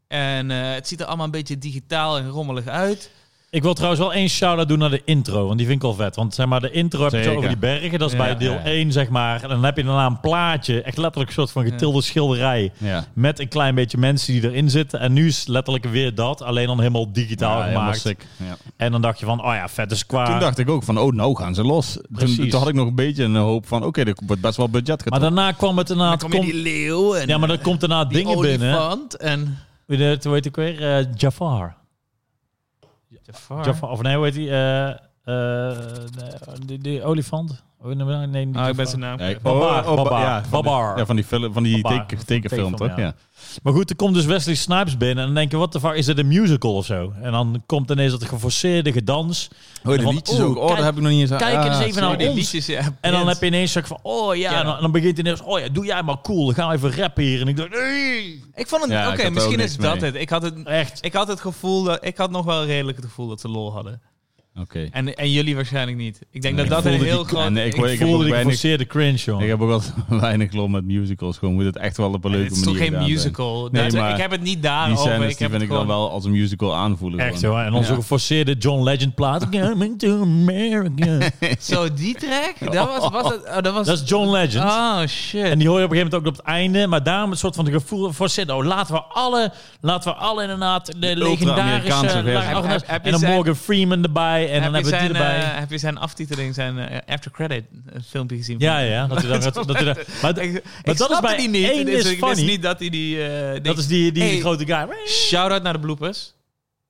S3: En eh, het ziet er allemaal een beetje digitaal en rommelig uit.
S1: Ik wil trouwens wel één shout-out doen naar de intro, want die vind ik al vet. Want zeg maar, de intro heb je het
S2: Zeker.
S1: over die bergen, dat is
S3: Ja,
S1: bij deel
S2: ja.
S1: 1, zeg maar. En dan heb je daarna een plaatje, echt letterlijk een soort van getilde schilderij.
S2: Ja.
S1: Met een klein beetje mensen die erin zitten. En nu is letterlijk weer dat, alleen dan helemaal digitaal
S2: Ja, helemaal
S1: gemaakt.
S2: sick. Ja.
S1: En dan dacht je van, oh ja, vet is qua.
S2: Toen dacht ik ook van, oh nou gaan ze los. Toen,
S1: Precies.
S2: toen had ik nog een beetje een hoop van, oké, er wordt best wel budget
S1: maar
S2: getrokken.
S1: daarna kwam het
S3: Dan
S1: inderdaad...
S3: kom je
S1: Ah, kom-
S3: die leeuw en
S1: Ja, maar dan komt daarna
S3: die
S1: dingen binnen.
S3: olifant en...
S1: Hoe heet- hoe heet ik weer? Eh, Jafar.
S3: Jafar.
S1: Jaffa, of nee, hoe heet die? eh, eh, de, de, de olifant? Oh, nee, nee, niet
S3: Ah, ik ben
S1: Jafar.
S3: zijn naam.
S2: eh, Ja, ik-
S3: kwijt.
S1: Babar,
S2: ba-
S1: Babar,
S2: ja, van die-
S1: Babar.
S2: Ja, van die, film, van die
S1: Babar,
S2: teken-
S1: van die
S2: tekenfilm,
S1: tekenfilm,
S2: toch? Ja.
S1: Maar goed, er komt dus Wesley Snipes binnen en dan denk je, wat de fuck, is dit een musical of zo? En dan komt ineens dat geforceerde gedans.
S2: Oh, de
S1: Van,
S2: liedjes
S1: oeh,
S2: ook. Oh,
S1: kijk-
S2: daar heb ik nog niet eens aan.
S1: kijk eens
S2: Ah,
S1: even naar
S2: sorry.
S3: Oh, die
S1: ons.
S3: liedjes, ja.
S1: En dan
S3: Prins.
S1: heb je ineens zeg van, oh ja,
S3: Ja.
S1: en dan, en dan begint ineens, oh ja, doe jij maar cool, dan gaan we even rappen hier. En ik dacht, nee,
S3: Ik vond het...
S2: Ja, ik
S3: Oké,
S2: had er ook
S3: misschien
S2: niks
S3: is dat
S2: mee.
S3: het. Ik had het...
S1: echt.
S3: Ik had het gevoel dat ik had nog wel redelijk het gevoel dat ze lol hadden.
S2: Oké.
S3: En, en jullie waarschijnlijk niet. Ik denk
S2: Nee.
S3: dat
S2: Ik
S3: dat een
S2: voelde
S3: heel
S2: die-
S3: groot.
S2: en ik hoor-
S1: Ik
S2: ik heb
S1: voelde
S2: ook
S1: die
S2: weinig-
S1: geforceerde cringe, jongen.
S2: Ik heb ook al weinig lol met musicals. Gewoon moet het echt wel op een leuke
S3: het is toch
S2: manier
S3: geen
S2: gedaan zijn.
S3: musical.
S2: Nee,
S3: Dat-
S2: maar
S3: ik heb het niet
S2: Die
S1: Ah, oh,
S3: daarover.
S2: scènes die
S3: ik heb
S2: vind
S3: het
S2: ik dan
S3: gewoon-
S2: wel als een musical aanvoelen.
S1: Echt
S2: gewoon.
S1: hoor, en onze
S2: Ja.
S1: geforceerde John Legend plaat. Coming to America.
S3: Zo, die track? Dat was, was het, oh, dat was...
S1: Dat is John Legend.
S3: Oh, shit.
S1: En die hoor je op een gegeven moment ook op het einde. Maar daarom een soort van de gevoel voor zitten. Oh, laten we alle, laten we alle inderdaad de legendarische...
S2: ultra-Amerikaanse versie.
S1: laag-
S3: Heb- heb je
S1: en dan
S3: zijn-
S1: Morgan Freeman erbij. En dan
S3: heb, je
S1: hebben we die
S3: zijn,
S1: erbij.
S3: eh, heb je zijn aftiteling, zijn eh, after credit eh, filmpje gezien?
S1: ja, ja. Dat, hij daar- dat, dat, hij daar- maar
S3: Ik,
S1: dat
S3: ik
S1: is
S3: snapte
S1: bij
S3: die niet.
S1: één
S3: dus
S1: is
S3: ik
S1: funny.
S3: wist niet dat hij die... eh, deed.
S1: dat is die, die
S3: Hey.
S1: grote guy.
S3: Shout-out naar de bloopers.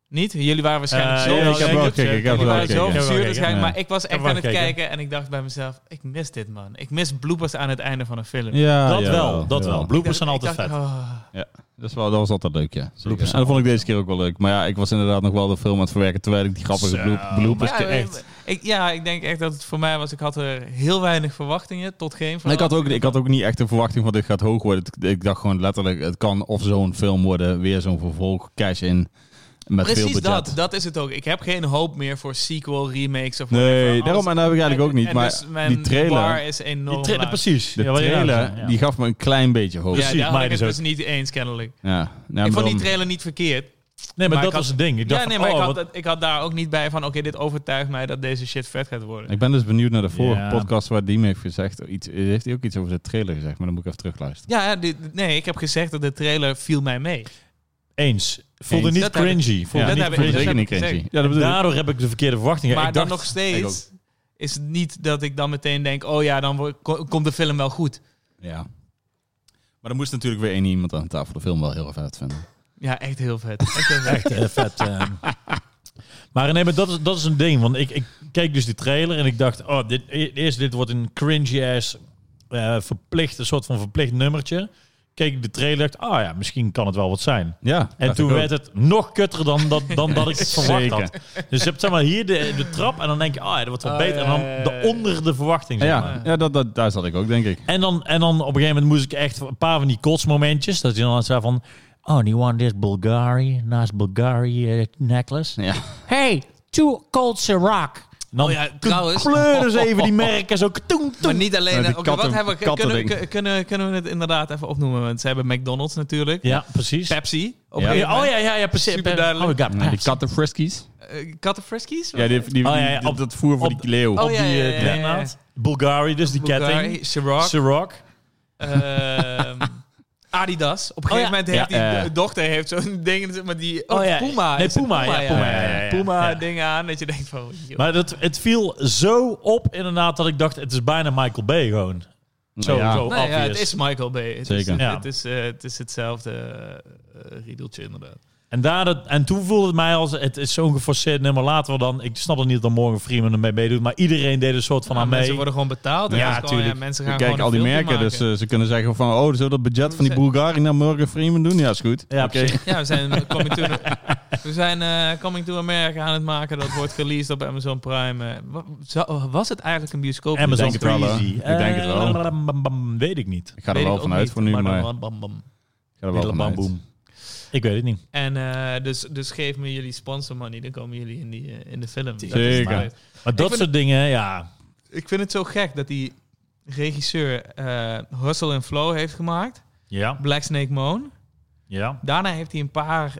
S3: Niet? Jullie waren waarschijnlijk
S1: Eh,
S3: zo...
S1: ja,
S2: ik heb wel
S1: Ja,
S2: gekeken. Ik heb
S3: Jullie
S2: wel
S3: waren zo
S1: Ik heb
S2: gekeken.
S1: wel
S3: verzuurd
S1: gekeken,
S3: waarschijnlijk.
S2: ja.
S3: Maar ik was echt
S1: heb wel
S3: aan het
S1: gekeken.
S3: kijken en ik dacht bij mezelf... Ik mis dit, man. Ik mis bloopers aan het einde van een film.
S2: Ja,
S1: dat wel,
S2: jawel,
S1: dat wel.
S2: jawel.
S1: Bloopers
S3: Ik
S1: zijn
S3: dacht-
S1: altijd
S3: ik
S1: vet.
S3: dacht, oh.
S2: Dat, is wel, dat was altijd leuk, ja. Zeker.
S1: Bloopers
S2: En dat vond ik deze keer ook wel leuk. Maar ja, ik was inderdaad nog wel de film aan het verwerken terwijl ik die grappige
S1: Zo.
S2: bloop- bloopers...
S1: Ja,
S2: keek.
S1: echt.
S3: Ik, ja, ik denk echt dat het voor mij was. Ik had er heel weinig verwachtingen, tot geen.
S2: Maar ik had, ook,
S3: verwachtingen.
S2: ik had ook niet echt de verwachting van dit gaat hoog worden. Ik- Ik dacht gewoon letterlijk, het kan of zo'n film worden, weer zo'n vervolg, cash in, met veel
S3: Precies
S2: budget.
S3: dat, dat is het ook. Ik heb geen hoop meer voor sequel, remakes of whatever.
S2: Nee,
S3: Alles-
S2: daarom en dat heb ik eigenlijk ook
S3: en-
S2: niet.
S3: en
S2: maar
S3: dus mijn
S2: die
S3: bar
S2: trailer,
S3: is
S1: Die
S3: enorm
S1: tra-
S3: laag.
S1: precies.
S2: de
S1: Ja, wat je raar
S2: trailer,
S1: zei, ja.
S2: die gaf me een klein beetje hoop. Ja,
S3: Ja, daar had
S1: mij
S3: ik het
S1: dus
S3: dus niet eens kennelijk.
S2: nou,
S3: ik
S2: maar
S3: vond die
S2: dan-
S3: trailer niet verkeerd.
S1: Nee, maar,
S3: maar
S1: dat
S3: ik had-
S1: was het ding. Ik dacht
S3: ja, nee,
S1: van,
S3: maar
S1: oh,
S3: ik,
S1: wat-
S3: had, dat- ik had daar ook niet bij van... Oké, dit overtuigt mij dat deze shit vet gaat worden.
S2: ik ben dus benieuwd naar de vorige
S1: Ja.
S2: podcast waar die me heeft gezegd. Iets, heeft hij ook iets over de trailer gezegd, maar dan moet ik even terugluisteren.
S3: Ja, ja, die- nee, ik heb gezegd dat de trailer viel mij mee.
S1: eens. Voelde
S2: Eens.
S1: niet
S3: Dat heb ik-
S1: cringy. Voelde
S3: dat
S1: niet
S3: heb ik-
S1: cringy.
S2: Vond ik zeker
S3: heb
S2: niet
S3: ik
S2: cringy.
S3: gezegd.
S2: Ja, dat bedoel ik.
S1: Daardoor heb ik de verkeerde verwachtingen.
S3: maar
S1: ik
S3: dan
S1: dacht,
S3: nog
S2: Ik
S3: steeds is het niet dat ik dan meteen denk... Oh ja, dan wordt- ko- komt de film wel goed.
S2: Ja. Maar er moest natuurlijk weer één iemand aan tafel de film wel heel erg vet vinden.
S3: Ja, echt heel vet. Echt heel vet.
S1: Echt eh, vet. eh. Maar nee, maar dat is, dat is een ding. Want ik, ik keek dus die trailer en ik dacht, oh, dit, e- eerst dit wordt een cringy-ass eh, verplicht, een soort van verplicht nummertje. Keek ik de trailer dacht, ah ja, misschien kan het wel wat zijn.
S2: Ja.
S1: En toen werd het nog kutter dan dat, dan dat ik het verwacht
S2: Zeker.
S1: had. Dus je hebt zeg maar hier de, de trap en dan denk je, ah ja, dat wordt wel
S3: Ah,
S1: beter. En dan
S3: ja, ja, ja.
S1: de onder de verwachting, zeg maar.
S2: Ja, ja dat, dat, daar zat ik ook, denk ik.
S1: En dan, en dan op een gegeven moment moest ik echt een paar van die kotsmomentjes. Dat je dan zei van... Oh, do you want this Bulgari? Nice Bulgari eh, necklace.
S2: Ja.
S1: Hey, two cold Ciroc. En Dan
S3: Oh ja, trouwens.
S1: kleuren ze even die merken zo. Toen,
S3: Maar
S1: toen.
S3: niet alleen... eh,
S2: Met die
S3: oké,
S2: katten-
S3: wat hebben we, kunnen,
S2: kattending.
S3: kunnen, kunnen, kunnen we het inderdaad even opnoemen? Want ze hebben McDonald's natuurlijk.
S1: Ja, precies.
S3: Pepsi. Op
S2: Ja.
S3: een gegeven
S1: Oh
S3: moment.
S1: ja, ja, ja, precies.
S3: Super
S1: Oh,
S3: duidelijk.
S1: ik got
S2: die
S1: Pepsi.
S2: katten friskies.
S3: Eh, Kattenfriskies?
S2: Ja, die, die, die,
S1: Oh, ja, ja,
S2: die-
S1: op-
S2: dat voer voor
S1: op-
S2: die Nou leeuw.
S1: Op
S3: Oh, ja,
S1: die,
S3: ja,
S1: eh,
S3: ja, ja,
S1: inderdaad. Bulgari, dus die ketting.
S3: Ciroc.
S1: Ciroc.
S3: Ehm, Adidas. Op een
S1: Oh, ja.
S3: gegeven moment heeft
S2: Ja,
S3: die
S2: eh.
S3: do- dochter heeft zo'n ding, maar die oh,
S1: Oh, ja.
S3: Puma.
S1: Nee,
S3: is het
S1: Puma, ja, Puma, ja, ja, ja.
S3: Puma
S1: Ja.
S3: ding aan dat je denkt van. oh, joh.
S1: Maar dat, het viel zo op inderdaad dat ik dacht... Het is bijna Michael Bay gewoon. Zo,
S2: Ja.
S1: zo
S3: Nou ja,
S1: obvious.
S3: het is Michael Bay. Het
S2: Zeker.
S3: Is,
S1: Ja.
S3: het, is, eh, het is hetzelfde eh, riedeltje inderdaad.
S1: En, daar dat, en toen voelde het mij als het is zo'n geforceerd nummer. Laten we dan, ik snap het niet dat Morgan Freeman ermee meedoet, maar iedereen deed een soort van
S3: Nou,
S1: aan mee.
S3: Mensen worden gewoon betaald. en
S1: Ja,
S3: dat is gewoon,
S1: tuurlijk.
S3: mensen
S2: We
S3: gaan
S2: kijken
S3: gewoon
S2: al die
S3: een filmpje
S2: merken, dus
S3: maken.
S2: eh, ze kunnen zeggen van... Oh, zullen we dat budget van die Bulgari naar Morgan Freeman doen? Ja, is goed.
S1: Ja,
S2: Oké.
S1: precies.
S3: Ja, we zijn eh, Coming to, we zijn, eh, coming to America aan het maken. Dat wordt released op Amazon Prime. eh. Wa- zou- was het eigenlijk een bioscoop?
S1: Amazon
S2: Ik denk het wel, hè.
S1: Crazy.
S2: Ik denk het wel.
S1: Eh, bam, bam, bam, weet ik niet.
S2: Ik ga er
S3: Weet
S2: wel
S3: ik ook
S2: vanuit
S3: niet,
S2: voor nu,
S3: dan
S2: maar... Ik
S3: bam, bam, bam.
S2: ga er wel
S1: Bam, bam,
S2: vanuit.
S1: boom. Ik weet het niet.
S3: En eh, dus, dus geef me jullie sponsor money, dan komen jullie in, die, eh, in de film. Dat is het
S2: Zeker.
S3: maar.
S1: Maar dat
S3: vind
S1: soort dingen, ja.
S3: Ik vind het zo gek dat die regisseur eh Hustle and Flow heeft gemaakt,
S1: Ja,
S3: Black Snake Moan.
S1: ja.
S3: Daarna heeft hij een paar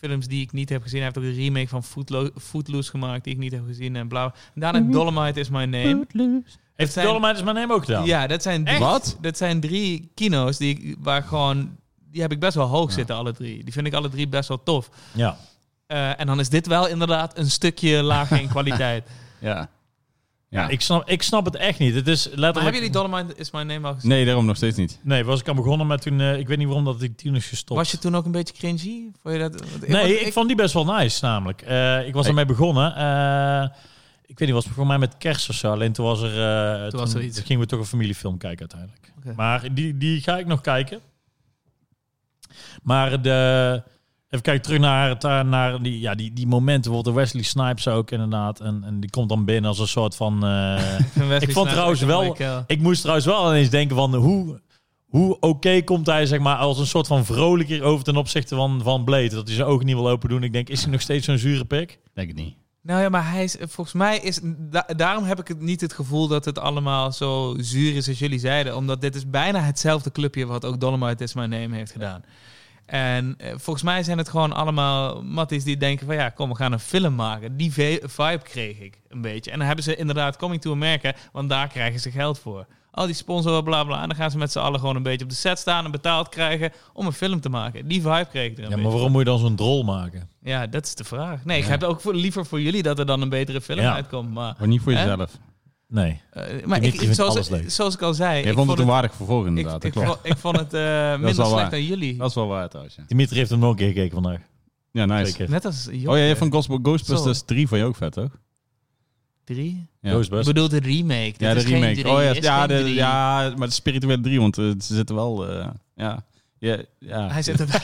S3: films die ik niet heb gezien. Hij heeft ook een remake van Footlo- Footloose gemaakt die ik niet heb gezien. En bla. En daarna Dolomite is My
S2: Mhm.
S3: Name.
S1: Heeft
S3: zijn-
S1: Dolomite is mijn name ook gedaan?
S3: Ja, dat zijn, drie,
S2: Echt? Wat?
S3: dat zijn drie kino's die ik, waar gewoon... Die heb ik best wel hoog zitten, alle drie. Die vind ik alle drie best wel tof.
S1: Ja.
S3: Eh, en dan is dit wel inderdaad een stukje lager in kwaliteit.
S2: Ja.
S1: Ja, ik snap, ik snap het echt niet. Het is letterlijk...
S3: Maar hebben jullie Dolomite is My Name al gezien?
S2: Nee, daarom nog steeds niet.
S1: Nee, was ik aan begonnen, maar toen... eh, ik weet niet waarom dat ik toen is gestopt.
S3: Was je toen ook een beetje cringy? Vond je dat, want
S1: Nee,
S3: want
S1: ik, vond die best wel nice, namelijk. Eh, ik was
S2: Hey.
S1: ermee begonnen. eh, ik weet niet, was het voor mij met kerst of zo. Alleen toen was er... eh, toen,
S3: was er iets.
S1: toen gingen we toch een familiefilm kijken uiteindelijk.
S3: Oké.
S1: Maar die, die ga ik nog kijken. Maar de... Even kijken terug naar, het, eh, naar die, ja, die, die momenten. Bijvoorbeeld de Wesley Snipes ook inderdaad. En, en die komt dan binnen als een soort van... eh,
S3: vind Wesley
S1: ik vond
S3: Snipes
S1: trouwens
S3: echt een
S1: wel-
S3: mooie kerel.
S1: ik moest trouwens wel ineens denken van hoe, hoe oké komt hij zeg maar als een soort van vrolijker over ten opzichte van, van Blade. Dat hij zijn ogen niet wil open doen. Ik denk, is hij nog steeds zo'n zure pik?
S2: Denk het niet.
S3: Nou ja, maar hij is, volgens mij is... da- daarom heb ik het niet het gevoel dat het allemaal zo zuur is als jullie zeiden. Omdat dit is bijna hetzelfde clubje wat ook Dolomite Is My Name heeft gedaan. En eh, volgens mij zijn het gewoon allemaal matties die denken van... Ja, kom, we gaan een film maken. Die ve- vibe kreeg ik een beetje. En dan hebben ze inderdaad Coming to America, want daar krijgen ze geld voor. Al die sponsoren, bla bla. En dan gaan ze met z'n allen gewoon een beetje op de set staan en betaald krijgen om een film te maken. Die vibe kreeg ik er een
S1: Ja,
S3: beetje.
S1: maar waarom moet je dan zo'n drol maken?
S3: Ja, dat is de vraag. Nee, ik
S2: Ja.
S3: heb ook voor, liever voor jullie dat er dan een betere film
S1: Ja.
S3: uitkomt. Maar,
S2: Maar niet voor
S3: Hè?
S2: jezelf.
S1: Nee.
S3: eh, maar
S1: Je
S3: ik,
S1: vindt- je vindt
S3: zoals,
S1: alles leuk.
S3: zoals ik al zei,
S2: Jij
S3: ik
S2: vond het een
S3: ik,
S2: waardig vervolg inderdaad. dat
S3: ik,
S2: klopt.
S3: vond, ik vond het eh,
S2: is
S3: minder
S2: wel
S3: slecht
S2: waar.
S3: dan jullie.
S2: Dat is wel waar trouwens, ja.
S1: Dimitri heeft hem nog een keer gekeken vandaag.
S2: Ja, nice.
S1: Twee keer.
S3: Net als Jokke.
S2: Oh ja, jij
S1: eh,
S2: vond Ghost- Ghostbusters
S3: Zo.
S2: 3 van je ook vet, toch?
S3: drie.
S2: Ja.
S3: Ik
S1: Ghostbusters.
S3: bedoel de remake.
S2: Ja, de remake. oh ja, ja, de,
S3: ja.
S2: ja, maar de spirituele 3, want eh, ze zitten wel... eh, ja, ja, ja
S3: Hij zit erbij.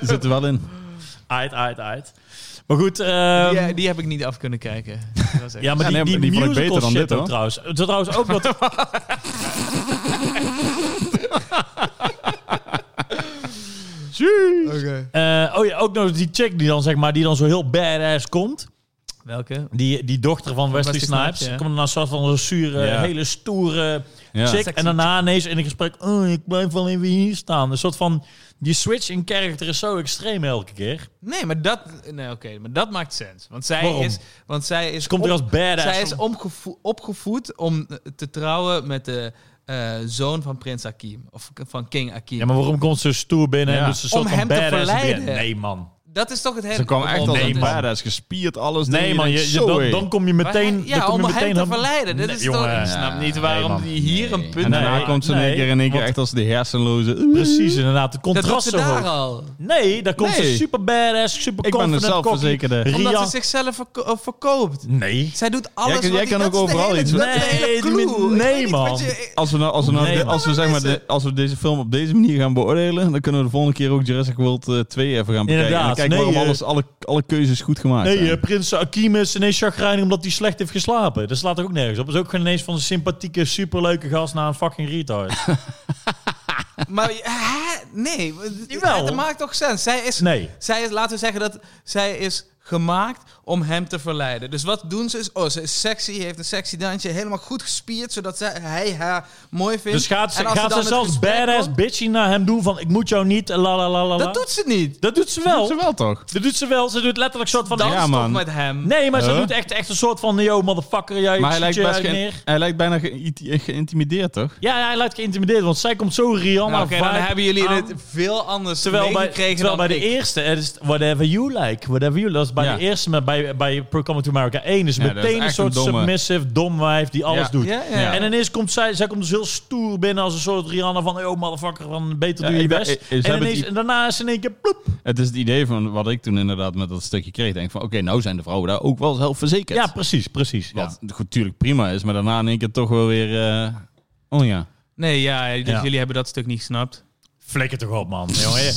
S2: ze zitten wel in.
S1: Uit, uit, uit. Maar goed, ehm,
S3: die, die heb ik niet af kunnen kijken. Dat was echt-
S1: ja, maar
S2: eh, Um, Ja,
S1: die,
S2: nee,
S1: die,
S2: maar die vond ik
S1: musical
S2: beter dan
S1: shit
S2: dit,
S1: ook
S2: hoor.
S1: trouwens. Het is trouwens ook wat... Jeez.
S3: Oké.
S1: Eh, oh ja, ook nog die chick die dan zeg maar, die dan zo heel badass komt.
S3: Welke?
S1: Die, die dochter van Wesley,
S3: Wesley Snipes,
S1: Snipes.
S3: ja.
S1: Komt dan een soort van een zure,
S2: Ja.
S1: hele stoere
S2: Ja.
S1: chick.
S3: Sexy
S1: En daarna ineens in een gesprek... Oh, ik blijf wel even hier staan. Een soort van... Die switch in character is zo extreem elke keer.
S3: Nee, maar dat, nee, oké, maar dat maakt sens. Want zij
S1: Waarom?
S3: is, want zij is
S1: Ze komt er
S3: op-
S1: als badass.
S3: Zij is omgevo- opgevoed om eh, te trouwen met de eh, zoon van prins Hakim. Of k- van King Hakim.
S1: Ja, maar waarom komt ze stoer binnen en
S2: Ja.
S1: doet ze een soort
S3: Om
S1: van
S3: hem te
S1: badass
S3: verleiden.
S1: binnen? Nee, man.
S3: Dat is toch het hele...
S2: Ze kwam echt als
S1: Oh, Nee,
S2: een
S1: man.
S2: badass, gespierd, alles.
S1: Nee,
S2: dingen.
S1: man.
S2: Je
S1: Je,
S2: denkt,
S1: je-
S2: zo,
S1: dan,
S2: hé.
S1: dan kom je meteen...
S3: Waar- ja,
S1: dan kom je
S3: om hem
S1: meteen
S3: te
S1: hem-
S3: verleiden. Dit
S1: Nee,
S3: is
S1: jongen.
S3: toch... Ik snap niet waarom
S1: Nee,
S3: die hier een punt...
S2: eh. En daarna
S1: Nee,
S2: komt ze
S1: nee,
S2: in één keer, in één keer
S1: want-
S2: echt als de hersenloze... eh.
S1: Precies, inderdaad. De
S3: Dat doet
S1: contrast
S3: ze
S1: zo
S3: daar
S1: hoog.
S3: al.
S1: Nee, daar komt
S2: Nee.
S1: ze super badass, super
S2: Ik ben een
S1: confident, cocky.
S2: zelfverzekerde...
S3: Omdat
S1: Ria-
S3: ze zichzelf verko- eh, verkoopt.
S1: Nee.
S3: Zij doet alles
S2: Jij kan-
S3: wat
S2: jij
S3: die-
S2: kan
S3: dat
S2: ook
S3: is de
S2: overal
S3: hele-
S2: iets.
S3: dat is de
S1: Nee,
S3: hele
S1: die min-
S3: clue. Ik
S1: nee,
S3: weet niet wat
S1: man.
S3: je-
S2: Als we nou, als we nou,
S1: Nee,
S2: de-
S1: man.
S2: als we zeg maar, de, als we deze film op deze manier gaan beoordelen, dan kunnen we de volgende keer ook Jurassic World eh, 2 even gaan bekijken. En
S1: Inderdaad,
S2: dan kijken
S1: nee,
S2: waarom
S1: eh,
S2: alles, alle, alle keuzes goed gemaakt
S1: Nee,
S2: zijn.
S1: eh, prins Akim is ineens chagrijnig omdat hij slecht heeft geslapen. Dat slaat er ook nergens op. Dat is ook gewoon ineens van een sympathieke, superleuke gast naar een fucking retard.
S3: Maar hè? nee,
S1: Jawel.
S3: dat maakt toch sens. Zij is,
S1: Nee.
S3: zij is, laten we zeggen dat zij is gemaakt om hem te verleiden. Dus wat doen ze? Is, oh, ze is sexy, heeft een sexy dansje, helemaal goed gespierd, zodat zij, hij haar mooi vindt.
S1: Dus gaat ze,
S3: En als
S1: gaat
S3: dan
S1: ze
S3: het
S1: zelfs
S3: gesprek
S1: badass
S3: komt-
S1: bitchy naar hem doen van ik moet jou niet, la la la la. la.
S3: Dat doet ze niet.
S1: Dat doet ze
S2: Dat
S1: wel.
S2: doet ze wel toch?
S1: Dat doet ze wel. Ze doet letterlijk een soort van...
S3: Dan
S2: Ja,
S3: ja,
S2: man.
S3: met hem.
S1: Nee, maar ze
S2: Huh?
S1: doet echt, echt een soort van yo motherfucker, jij
S2: Maar hij
S1: ziet
S2: lijkt,
S1: je
S2: best
S1: eigenlijk
S2: geïn-
S1: neer.
S2: hij lijkt bijna geïnti- geïntimideerd, toch?
S1: Ja, ja, hij lijkt geïntimideerd, want zij komt zo Rihanna
S3: Nou, Oké, dan
S1: vibe Ah.
S3: hebben jullie
S1: aan.
S3: het veel anders
S1: Terwijl bij,
S3: meegekregen
S1: terwijl bij
S3: dan
S1: de
S3: ik.
S1: eerste, het is whatever you like, whatever you like. Dat is bij
S2: Ja.
S1: de eerste, maar bij, bij Pro Coming to America 1 is
S2: Ja, dat is
S1: meteen een
S2: echt
S1: soort
S2: een domme.
S1: submissive dom wijf die alles
S2: Ja.
S1: doet.
S3: Ja, ja.
S2: Ja.
S1: En ineens komt zij, zij komt dus heel stoer binnen als een soort Rihanna van, oh motherfucker, van beter
S2: Ja,
S1: doe je
S2: ik ben-
S1: best.
S2: eh, eh, ze
S1: en,
S2: hebben
S1: ineens,
S2: die-
S1: en daarna is ze in één keer ploep.
S2: Het is het idee van wat ik toen inderdaad met dat stukje kreeg. Denk van, oké, nou zijn de vrouwen daar ook wel zelfverzekerd.
S1: Ja, precies, precies. Ja.
S2: Wat natuurlijk prima is, maar daarna in één keer toch wel weer... eh, oh ja.
S3: Nee, ja, dus
S1: Ja.
S3: jullie hebben dat stuk niet gesnapt.
S1: Flikker toch op, man. Jongen, je,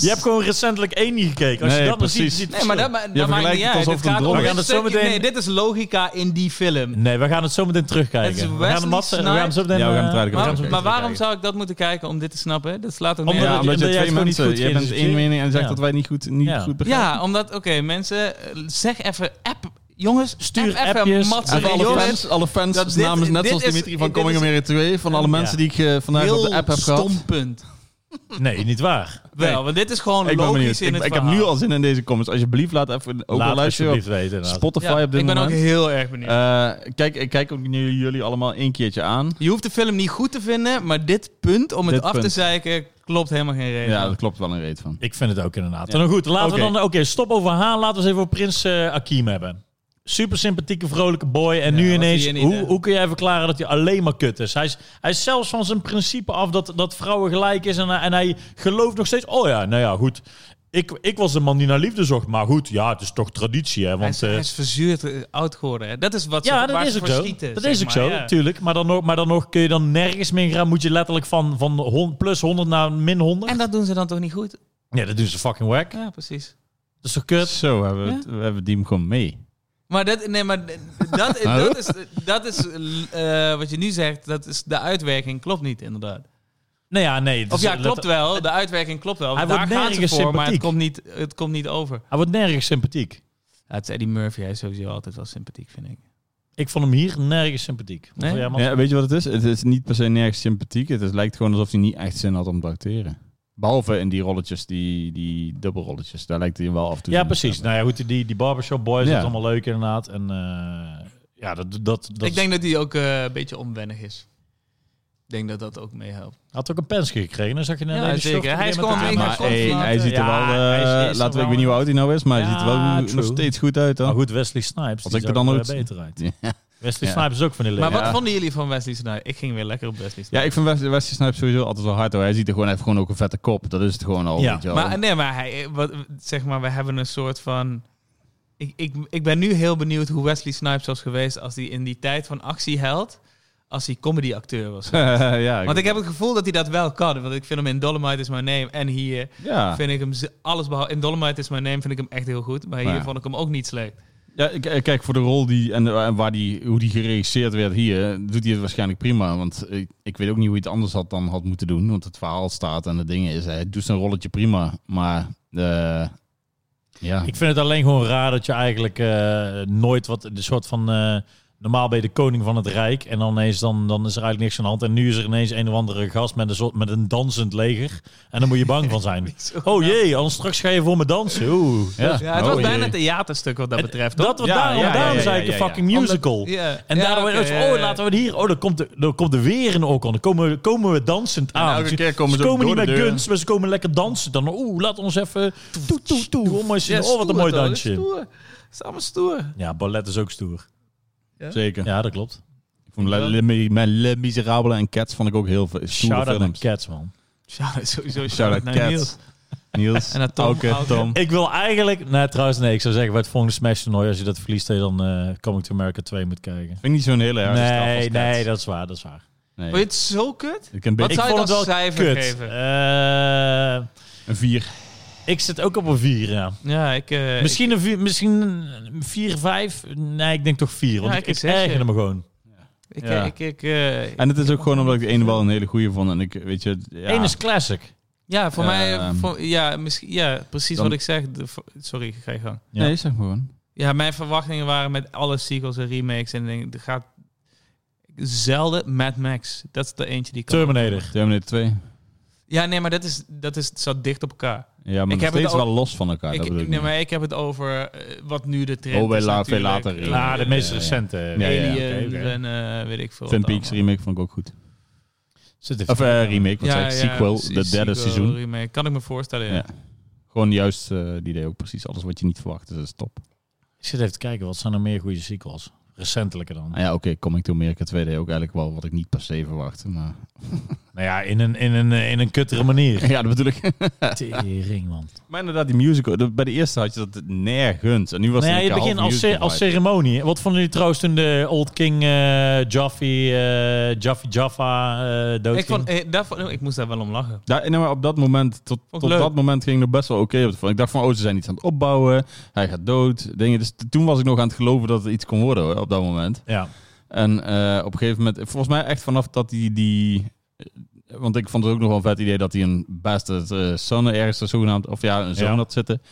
S1: je hebt gewoon recentelijk één niet gekeken. Als je
S2: Nee,
S1: dat nog ziet,
S2: precies.
S1: ziet het
S3: Nee, maar dat,
S1: verschil.
S3: ma- dat maakt
S2: vergelijkt
S3: niet
S2: het
S3: uit.
S2: alsof het
S3: Dit
S2: een
S3: gaat
S2: drom
S3: om
S2: is.
S1: We
S3: een
S1: gaan het zo
S3: stukje- Nee,
S1: meteen-
S3: dit is logica in die film.
S1: Nee, we gaan het zo meteen
S3: Het is
S1: terugkijken. We gaan, de
S3: Wesley
S1: matse- we gaan hem zo meteen...
S2: Ja, we gaan
S1: eh,
S2: het eruit-
S1: gaan
S3: Maar,
S1: hem zo meteen
S3: maar waarom
S1: terugkijken.
S3: zou ik dat moeten kijken om dit te snappen? Dat slaat ook
S1: Omdat
S3: neer.
S2: Ja,
S1: het-
S2: omdat je
S1: omdat jij het
S2: twee
S1: gewoon
S2: mensen...
S1: niet goed
S2: Je bent
S1: geïntroduceerd.
S2: één mening en zegt
S1: Ja.
S2: dat wij niet goed, niet
S1: Ja.
S2: goed begrijpen.
S3: Ja, omdat, oké, mensen, eh, zeg even app. Jongens,
S1: Stuur
S3: app
S1: appjes.
S3: even matsen.
S2: En
S1: Hey,
S2: dus alle
S3: jongens.
S2: fans, alle fans
S3: dat dit-
S2: namens net
S3: dit
S2: zoals
S3: is-
S2: Dimitri van
S3: dit
S2: Coming
S3: is-
S2: America 2, van alle
S1: Ja.
S2: mensen die ik eh, vandaag op
S3: Heel
S2: de app heb
S3: stom
S2: gehad.
S3: punt.
S1: Nee, niet waar.
S3: Wel, want dit is gewoon
S2: ik ben
S3: logisch
S2: benieuwd.
S3: in
S2: Ik,
S3: het
S2: ik heb nu al zin in deze comments. Alsjeblieft, laat even ook
S1: Laat
S2: een luisteren op
S1: alsjeblieft weten. inderdaad.
S2: Spotify op dit
S3: ik ben
S2: moment.
S3: ook heel erg benieuwd.
S2: Eh, kijk, ik kijk ook nu jullie allemaal één keertje aan.
S3: je hoeft de film niet goed te vinden, maar dit punt om het
S2: Dit
S3: af te
S2: punt.
S3: zeiken klopt helemaal geen reden.
S2: Ja, dat klopt wel een reet van.
S1: Ik vind het ook inderdaad.
S2: Ja.
S1: Nou goed, laten
S2: Oké.
S1: we dan... Oké, stop over haar. Laten we eens even over Prins eh, Akim hebben. Super sympathieke, vrolijke boy. En
S3: Ja,
S1: nu
S3: wat
S1: ineens,
S3: zie je niet,
S1: hoe,
S3: hè?
S1: hoe kun jij verklaren dat hij alleen maar kut is? Hij is, hij is zelfs van zijn principe af dat, dat vrouwen gelijk is. En, hij- en hij gelooft nog steeds... Oh ja, nou ja, goed. Ik, ik was de man die naar liefde zocht. Maar goed, ja, het is toch traditie, hè?
S3: hij, is,
S1: Want,
S3: hij
S1: eh,
S3: is verzuurd eh, oud geworden. Hè. Dat is wat
S1: ja,
S3: ze,
S1: dat
S3: waar
S1: is
S3: ze
S1: ook
S3: voor
S1: zo.
S3: schieten.
S1: dat
S3: zeg
S1: is ook
S3: maar,
S1: zo,
S3: ja.
S1: tuurlijk. Maar dan, nog, maar dan nog kun je dan nergens meer gaan. Moet je letterlijk van, van hon- plus 100 naar min 100.
S3: En dat doen ze dan toch niet goed?
S1: ja, dat doen ze fucking wack. Dat
S3: Ja, precies.
S1: is toch kut?
S2: Zo, we hebben, we hebben die hem gewoon mee.
S3: Maar dat, nee, maar d- dat, dat is, dat is eh, wat je nu zegt, dat is, de uitwerking klopt niet inderdaad.
S1: Nou ja, nee. het
S3: Of
S1: is-
S3: ja,
S1: let-
S3: klopt wel, de uitwerking klopt wel.
S1: Hij
S3: Daar
S1: wordt
S3: gaan ze
S1: nergens
S3: voor, maar het
S1: sympathiek.
S3: komt, niet, het komt niet over.
S1: Hij wordt nergens sympathiek.
S3: Ja, het is Eddie Murphy, hij is sowieso altijd wel sympathiek, vind ik.
S1: Ik vond hem hier nergens sympathiek. Wat
S3: Nee?
S1: wil jij, man?
S2: Ja, weet je wat het is? Het is niet per se nergens sympathiek. Het is, lijkt gewoon alsof hij niet echt zin had om te acteren. Behalve in die rolletjes, die, die dubbelrolletjes. Daar lijkt hij wel af en toe
S1: Ja,
S2: zin in te
S1: precies.
S2: hebben.
S1: Nou ja, goed, die, die barbershop boys,
S2: Ja.
S1: dat is allemaal leuk inderdaad. En eh, ja, dat, dat, dat
S3: ik
S1: is-
S3: denk dat hij ook eh, een beetje onwennig is. Ik denk dat dat ook meehelpt.
S1: Hij had ook een pens gekregen, dan zag je net
S3: Ja,
S1: een hele
S3: zeker.
S1: short
S3: Hij is
S1: met een
S3: gewoon
S1: taart.
S3: mega
S1: Maar-
S3: kort.
S2: Maar één, hij ziet er
S1: Ja,
S2: wel... eh,
S1: hij is- is er
S2: laten we, ik
S1: wel-
S2: weet niet hoe oud hij nou is, maar hij
S1: Ja,
S2: ziet er wel
S1: true.
S2: nog steeds goed uit dan.
S1: Maar goed, Wesley Snipes.
S2: Als
S1: die
S2: ik
S1: zag
S2: er dan
S1: er
S2: ooit-
S1: beter uit.
S2: Ja.
S1: Wesley
S2: Ja.
S1: Snipes is ook van die
S3: Maar
S1: leeftijd.
S3: wat
S2: Ja.
S3: vonden jullie van Wesley Snipes? Ik ging weer lekker op Wesley
S2: Ja,
S3: Snipes.
S2: ik vind Wesley, Wesley Snipes sowieso altijd wel hard. Hoor. Hij ziet er gewoon, hij heeft gewoon ook een vette kop. Dat is het gewoon al.
S1: Ja.
S2: weet je wel.
S3: maar nee, maar, hij, wat, zeg maar we hebben een soort van... Ik, ik, ik ben nu heel benieuwd hoe Wesley Snipes was geweest als hij in die tijd van actieheld, als hij comedyacteur was.
S2: ja,
S3: Want ik heb het gevoel dat hij dat wel kan. Want ik vind hem in Dolomite is My Name en hier
S1: Ah.
S2: Ja,
S3: vind ik hem z- alles behalve... In Dolomite is My Name vind ik hem echt heel goed, maar hier
S2: Ja.
S3: vond ik hem ook niet slecht.
S2: ja k- eh, kijk, voor de rol die en eh, waar die, hoe die geregisseerd werd hier, eh, doet hij het waarschijnlijk prima. Want eh, ik, ik weet ook niet hoe hij het anders had dan had moeten doen. Want het verhaal staat en de dingen is, hij doet zijn rolletje prima. Maar eh, ja,
S1: Ik vind het alleen gewoon raar dat je eigenlijk eh, nooit wat de soort van eh, normaal ben je de koning van het rijk en dan ineens dan, dan is er eigenlijk niks aan de hand en nu is er ineens een of andere gast met een soort met een dansend leger en dan moet je bang van zijn. Oh jee, anders straks ga je voor me dansen. Oeh.
S2: ja.
S3: Ja, het was
S2: Oh,
S3: bijna
S2: jee.
S3: een theaterstuk wat dat
S1: En
S3: betreft.
S1: Dat wat
S2: Ja,
S1: daarom,
S2: ja, ja,
S1: daarom
S2: ja,
S1: zei
S2: ja,
S1: ik een
S2: ja, ja.
S1: fucking musical. En daardoor weer, oh, laten we het hier. Oh, dan komt, er, dan komt er weer een orkon. Dan komen, we- komen we dansend aan.
S2: elke
S1: Ze-
S2: keer komen ze
S1: ze
S2: ook
S1: Nou, Ah, dus komen niet met
S2: door de deur.
S1: guns, maar ze komen lekker dansen. Dan, oeh, laat ons even... Toe, toe, toe. Oh, mooi zien. oh wat een mooi dansje.
S3: Het is allemaal stoer.
S1: Ja, ballet is ook stoer.
S2: zeker.
S1: Ja, dat klopt.
S2: Ik vond Le, Le, Mi- mijn Le Miserabele en Cats vond ik ook heel veel stoere
S1: Shout-out naar
S2: films.
S1: Cats, man.
S3: Shout-out sowieso.
S2: Shout-out
S3: Shout-out naar
S2: Cats.
S3: Niels.
S2: Niels,
S3: En naar Tom.
S2: Auke,
S3: Auke.
S2: Tom.
S1: Ik wil eigenlijk... Nee, trouwens, nee. Ik zou zeggen, bij het volgende Smash toernooi, als je dat verliest, dat je dan eh, Coming to America 2 moet kijken.
S2: Vind ik niet zo'n hele erge straf als
S1: Nee,
S2: Cats.
S1: nee, dat is waar, dat is waar.
S2: Nee.
S3: Vond je het zo kut?
S2: Ik een,
S3: Wat
S2: beetje-
S3: zou je
S1: vond
S3: dan
S1: het wel
S3: cijfer
S1: Kut.
S3: geven?
S1: Eh,
S2: een vier.
S1: ik zit ook op een 4, ja.
S3: Ja, ik... eh,
S1: Misschien een vier, misschien 4, 5. Nee, ik denk toch 4. Want
S3: Ja,
S1: ik,
S3: ik
S1: ik
S3: zeg je.
S1: ergerde me gewoon.
S3: Ik, ik,
S2: Ja.
S3: ik, ik, eh,
S2: En het is ook gewoon omdat ik de ene wel een hele goede vond. En ik, weet je, ja,
S1: Eén is classic.
S3: ja, voor
S2: Ehm,
S3: mij... Voor, ja, misschien, ja, precies
S2: dan-
S3: wat ik zeg. De- voor- sorry, ga je gang.
S1: Ja.
S2: Nee, zeg maar gewoon.
S3: Ja, mijn verwachtingen waren met alle sequels en remakes. En ik denk, er gaat zelden Mad Max. Dat is de eentje die kan.
S1: Terminator.
S2: Terminator 2.
S3: Ja, nee, maar dat, is, dat is, zat dicht op elkaar.
S2: Ja, maar
S3: Ik
S2: nog
S3: heb het
S2: steeds
S3: ook-
S2: wel los van elkaar.
S3: ik,
S2: dat
S3: ik-
S2: bedoel ik
S3: nee,
S2: niet.
S3: maar ik heb het over eh, wat nu de trend
S2: Oh, bij
S3: is
S2: la- veel
S3: natuurlijk.
S2: later.
S3: Eh,
S1: Ja, Ah, de meest
S2: ja, ja.
S1: recente.
S2: Ja, ja, ja.
S3: Alien
S1: Oké, oké.
S3: en eh, weet ik veel.
S2: Twin
S3: wat
S2: Peaks
S3: allemaal.
S2: remake vond ik ook goed.
S1: Zit er-
S2: Of eh, remake, wat zei ik? Sequel,
S3: precies,
S2: de derde
S3: sequel,
S2: seizoen.
S3: remake. Kan ik me voorstellen, ja.
S2: Ja. Gewoon juist, eh, die deed ook precies alles wat je niet verwacht. Dus dat is top.
S1: Ik zit even te kijken, wat zijn er meer goede sequels? Recentelijke dan.
S2: Nou ja, oké, Coming to America 2 deed ook eigenlijk wel wat ik niet per se verwachtte. Maar...
S1: Nou ja, in een, in een, eh, in een kuttere manier.
S2: Ja, dat bedoel ik.
S1: Tering, man.
S2: maar inderdaad, die musical. de- bij de eerste had je dat nergens. En nu was
S1: Nou ja,
S2: het
S1: je
S2: een
S1: begint
S2: half
S1: als, ce-
S2: musical
S1: als
S2: vibe.
S1: ceremonie. Wat vonden jullie trouwens toen de Old King eh Jaffe, eh Jaffe Jaffa eh doodging?
S3: Ik, vond, eh, daar vond- ik moest daar wel om lachen.
S2: Daar, nee, maar op dat moment, tot,
S3: ik
S2: tot
S3: leuk.
S2: dat moment ging het best wel oké op de film. Ik dacht van, oh, ze zijn iets aan het opbouwen. Hij gaat dood. Dingen. Dus t- toen was ik nog aan het geloven dat het iets kon worden hoor, op dat moment.
S1: Ja.
S2: En eh, op een gegeven moment, volgens mij echt vanaf dat hij die... eh, Want ik vond het ook nog wel een vet idee dat hij een beste eh son ergens er zogenaamd... Of ja, een zoon
S1: Ja.
S2: had zitten.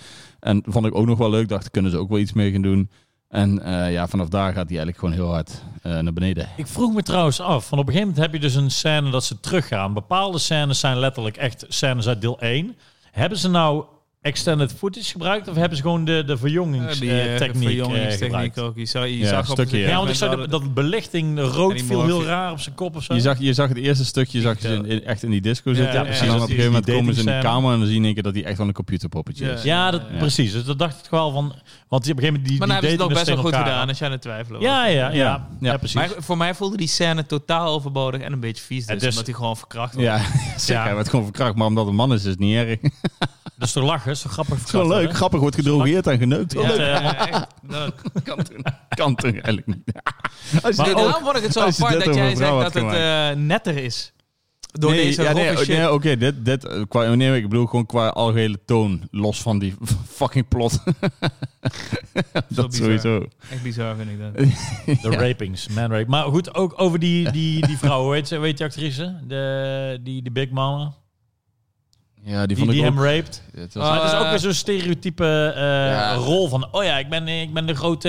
S2: En vond ik ook nog wel leuk. Dacht, kunnen ze ook wel iets mee gaan doen. En eh, ja, vanaf daar gaat hij eigenlijk gewoon heel hard eh, naar beneden.
S1: Ik vroeg me trouwens af, want op een gegeven moment heb je dus een scène dat ze teruggaan. Bepaalde scènes zijn letterlijk echt scènes uit deel 1. Hebben ze nou extended footage gebruikt of hebben ze gewoon de, de
S3: Eh,
S1: verjongingstechniek
S3: die eh, verjongingstechniek
S1: gebruikt?
S3: ook. Je, zou, je
S2: Ja,
S3: zag op een
S2: stukje, ja.
S1: Ja, want ik
S3: gegeven
S1: zag dat,
S3: moment
S1: dat belichting rood
S3: die
S1: viel heel
S3: morgen-
S1: raar op zijn kop of zo.
S2: Je zag, je zag het eerste stukje zag je ze in- in- echt in die disco zitten.
S3: ja,
S2: en
S3: precies.
S2: dan op een
S1: Die-
S2: gegeven moment
S1: die
S2: komen ze in de
S1: datingscène.
S2: kamer en dan zie je in één keer dat hij echt wel een computerpoppetje
S3: Ja.
S2: is.
S1: Ja, dat,
S2: Eh, Ja.
S1: precies. Dus dat dacht ik wel van... Want die op een gegeven moment die,
S3: Maar dan
S1: die
S3: hebben ze het ook
S1: daten
S3: best wel
S1: dus
S3: goed
S1: tegen
S3: gedaan,
S1: elkaar
S3: als jij aan het twijfelen
S1: aan. Ja, ja, ja.
S2: Ja.
S1: ja.
S2: Ja.
S1: precies.
S3: Maar voor mij voelde die scène totaal overbodig en een beetje vies.
S1: Het
S3: Dus,
S1: is-
S3: omdat hij gewoon verkracht wordt.
S2: Ja, zeker.
S1: Ja.
S2: Hij werd gewoon verkracht, maar omdat een man is, is het niet erg. Het
S1: dat is toch Dus lachen? Zo grappig.
S2: is wel leuk, grappig, wordt gedrogeerd en geneukt. Wel
S1: Ja.
S2: leuk.
S3: Ja, echt. Dat-
S2: Kan toen, kan toen eigenlijk niet. Als je
S1: Maar
S2: dit-
S1: ook-
S3: Daarom vond ik het zo
S2: als je
S3: apart
S2: dit
S3: dat
S2: over
S3: jij
S2: een
S3: zegt
S2: vrouw
S3: dat
S2: had
S3: het eh, netter is. Door
S2: nee,
S3: deze
S2: ja,
S3: ja,
S2: nee, oh,
S3: shit.
S2: nee, oké, dit, dit, eh, qua, nee, ik bedoel gewoon qua algehele toon, los van die fucking plot.
S3: bizar.
S2: dat sowieso.
S3: Echt bizar vind ik dat.
S1: De rapings, man rape. Maar goed, ook over die, die, die vrouw, weet je, weet je actrice? De, die, die big mama,
S2: Ja, die
S1: die,
S2: vond
S1: die
S2: ik ook...
S1: hem raped.
S2: Het
S3: Ah,
S2: was,
S1: maar het is ook weer zo'n stereotype eh,
S2: Ja.
S1: rol van... Oh ja, ik ben, ik ben de grote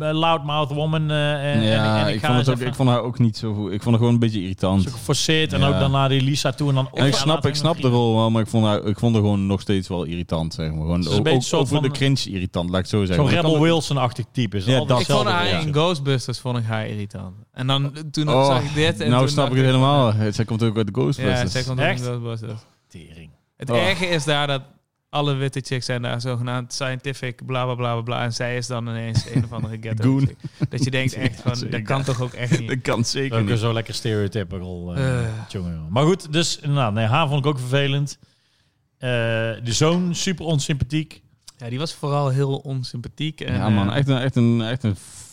S1: eh, loudmouth woman. eh, en,
S2: ja,
S1: en, en
S2: ik,
S1: ik, ga
S2: vond het
S1: eens
S2: ook, ik
S1: even-
S2: vond haar ook niet zo goed. Ik vond haar gewoon een beetje irritant.
S1: zo geforceerd. En
S2: Ja.
S1: ook dan naar die Lisa toe. En dan
S2: En ik
S1: oh,
S2: snap,
S1: laten
S2: ik
S1: we
S2: snap
S1: hem
S2: de rol wel, maar ik vond, haar, ik vond haar gewoon nog steeds wel irritant, zeg maar. Gewoon,
S1: is een
S2: ook,
S1: beetje
S2: ook-
S1: soort
S2: ook voor de
S1: van-
S2: cringe irritant, laat ik het zo zeggen.
S1: Zo'n
S2: Ik kan
S1: Rebel
S2: het-
S1: Wilson-achtig type is.
S2: Ja,
S1: altijd
S2: dat-
S3: Ik vond
S1: hetzelfde
S3: haar
S1: rol.
S3: in Ghostbusters vond ik haar irritant. En dan eh, toen
S2: Oh,
S3: zag ik dit. En
S2: nou
S3: toen
S2: snap ik
S3: dacht
S2: het helemaal. Het- Zij komt ook uit de Ghostbusters.
S3: Ja, zij komt ook
S1: Echt?
S3: in Ghostbusters.
S1: Tering.
S3: Het
S2: Oh.
S3: erge is daar dat alle witte chicks zijn daar zogenaamd scientific, bla bla bla bla bla. En zij is dan ineens een of andere ghetto
S2: Goon.
S3: chick. Dat je denkt echt
S2: Ja,
S3: van, dat
S2: zeker.
S3: kan toch ook echt niet.
S2: Dat kan zeker
S1: Ook
S2: niet.
S1: zo lekker stereotypical. eh,
S3: Eh.
S1: jongen. Maar goed, dus nou, nee, haar vond ik ook vervelend. Eh, de zoon, super onsympathiek.
S3: Ja, die was vooral heel onsympathiek. En,
S2: Ja man,
S3: eh,
S2: echt een, echt een, echt een f-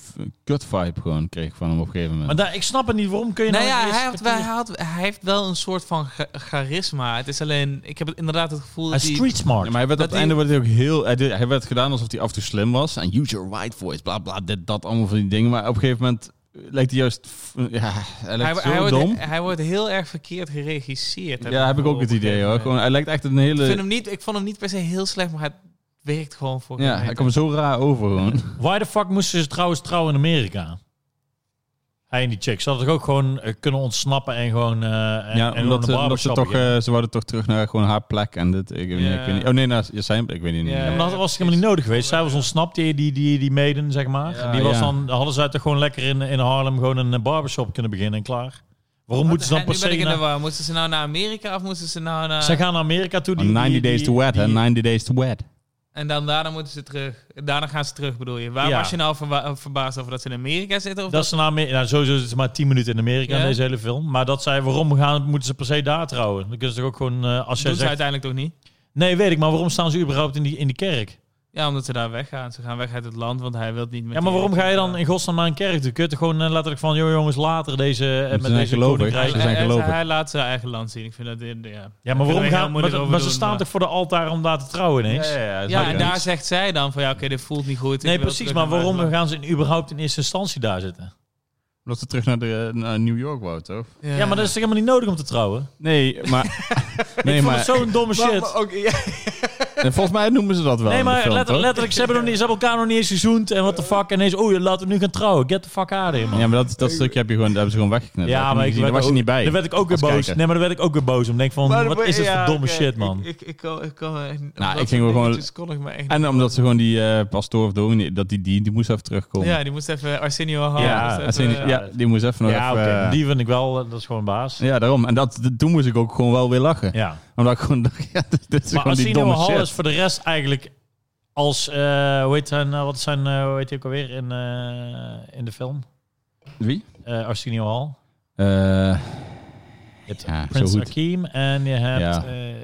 S2: kut vibe gewoon kreeg ik van hem op een gegeven moment.
S1: Maar daar, ik snap het niet, waarom kun je
S3: Nou
S1: nou in
S3: ja,
S1: het
S3: hij,
S1: eerste
S3: had, wel- hij,
S1: kwartier-
S3: had, hij heeft wel een soort van cha- charisma. Het is alleen, ik heb het inderdaad het gevoel
S1: Hij
S3: dat
S1: is
S3: hij...
S1: street smart.
S2: Ja, maar hij werd op
S3: Dat
S2: het einde werd hij ook heel. Hij, deed- hij werd gedaan alsof hij af en toe slim was. En use your right voice, bla bla, dit, dat, allemaal van die dingen. Maar op een gegeven moment lijkt hij juist. f- Ja, hij
S3: Hij,
S2: lijkt
S3: hij
S2: zo
S3: wordt, eh,
S2: dom.
S3: hij wordt heel erg verkeerd geregisseerd.
S2: ja, heb ik ook het idee hoor. Gewoon, hij lijkt echt een
S3: ik, vind
S2: hele.
S3: hem niet, ik vond hem niet per se heel slecht, maar het werkt gewoon voor
S2: Ja,
S3: gemeen.
S2: hij kwam zo raar over gewoon.
S1: Why the fuck moesten ze trouwens trouwen in Amerika? Hij en die chick. Ze hadden toch ook gewoon eh, kunnen ontsnappen en gewoon... eh, en,
S2: Ja,
S1: en
S2: omdat,
S1: gewoon
S2: eh,
S1: een
S2: omdat ze
S1: barbershop
S2: toch,
S1: beginnen.
S2: eh, ze wouden toch terug naar gewoon haar plek en dit. Ik, weet niet, ik weet niet. Oh nee, naar zijn plek. Ik weet niet.
S3: Ja.
S1: Ja, maar dat was helemaal niet nodig geweest. Zij was ontsnapt, die, die, die, die maiden, zeg maar.
S2: Ja,
S1: die was
S2: ja.
S1: dan, hadden zij toch gewoon lekker in, in Harlem gewoon een eh, barbershop kunnen beginnen en klaar. Waarom moeten ze dan
S3: Hè,
S1: per
S3: nu ben
S1: se...
S3: ik in de
S1: naar-
S3: war. Moesten ze nou naar Amerika of moesten ze nou naar...
S1: Zij gaan naar Amerika toe. Die,
S2: 90
S1: die-
S2: days
S1: die-
S2: to wed, hè?
S1: die-
S2: 90 days to wed.
S3: En dan daarna moeten ze terug. Daarna gaan ze terug, bedoel je. Waar
S1: Ja.
S3: was je nou verwa- verbaasd over dat ze in Amerika zitten? Of
S1: Dat is na Amer- nou, sowieso is het maar 10 minuten in Amerika
S3: Ja.
S1: in deze hele film. Maar dat zij, waarom gaan, moeten ze per se daar trouwen? Dan kunnen ze toch ook gewoon, eh, als jij
S3: dat doen ze
S1: zegt...
S3: uiteindelijk toch niet?
S1: Nee, weet ik, maar waarom staan ze überhaupt in die, in die kerk?
S3: Ja, omdat ze daar weggaan. Ze gaan weg uit het land, want hij wil niet meer...
S1: Ja, maar waarom ga je dan in godsnaam naar een kerk toe? Kun je toch gewoon eh, letterlijk van, joh jongens, later deze... eh,
S2: zijn
S1: met deze
S2: gelovig.
S1: koninkrijk.
S3: Hij,
S2: Ze zijn
S3: hij-
S2: gelovig.
S3: hij laat zijn eigen land zien. Ik vind dat... eh, Ja,
S1: Ja, maar waarom
S3: Kunnen we heel
S1: gaan... Maar,
S3: moeilijk
S1: maar
S3: over
S1: ze
S3: doen,
S1: staan
S3: maar-
S1: toch voor de altaar om daar te trouwen ineens?
S3: ja en daar zegt zij dan van... Ja, oké, dit voelt niet goed. ik
S1: Nee,
S3: wil
S1: precies.
S3: terug
S1: Maar
S3: naar
S1: waarom
S3: mijn land.
S1: gaan ze in, überhaupt in eerste instantie daar zitten?
S2: Omdat ze terug naar, de, naar New York wou, toch?
S1: Ja, maar dat is toch helemaal niet nodig om te trouwen?
S2: Nee, maar... nee,
S1: ik
S2: maar...
S1: vond het zo'n domme shit.
S2: en Volgens mij noemen ze dat wel
S1: nee,
S2: in de
S1: maar
S2: film,
S1: letter-
S2: toch?
S1: letterlijk, ze hebben, nog niet, ze hebben elkaar nog niet eens gezoend. En wat de fuck. En ineens, oh, oei, laten we nu gaan trouwen. Get the fuck out of here, man.
S2: Ja, maar dat, dat stukje heb je gewoon, dat hebben ze gewoon weggeknipt. Dat heb
S1: Ja,
S2: je
S1: maar
S2: niet
S1: ik
S2: gezien, daar
S1: werd
S2: was je
S1: ook-
S2: niet bij.
S1: Daar werd ik ook weer
S2: Als
S1: boos.
S2: kijker.
S1: Nee, maar daar werd ik ook weer boos om. Denk van, wat is dit voor domme shit, man?
S3: Ik, ik, ik, ik kon echt...
S2: Nou, ik ging wel gewoon-
S3: Dus kon ik me echt
S2: En omdat ze gewoon die eh pastoor of dominee, dat die, die, die moest even terugkomen.
S3: Ja, die moest even Arsenio Hall.
S1: Ja,
S3: moest even- eh,
S2: Als in- ja, die moest even nog
S1: ja,
S2: even...
S1: oké,
S2: eh,
S1: die vind ik wel, eh, dat is gewoon baas. Ja.
S2: Ja, daarom. En dat, d- toen moest ik ook gewoon wel weer lachen. Omdat ik gewoon dacht, ja, dit- dit is
S1: Maar nou
S2: gewoon die
S1: Arsenio
S2: domme
S1: Hall
S2: shit.
S1: is voor de rest eigenlijk als, eh, hoe heet zijn, eh, wat zijn, eh, hoe heet hij ook alweer in, eh, in de film?
S2: Wie?
S1: Eh Arsenio Hall.
S2: Eh,
S1: Je hebt
S2: Ja,
S1: Prins
S2: zo goed.
S1: Hakim en je hebt...
S2: Ja.
S1: eh, eh,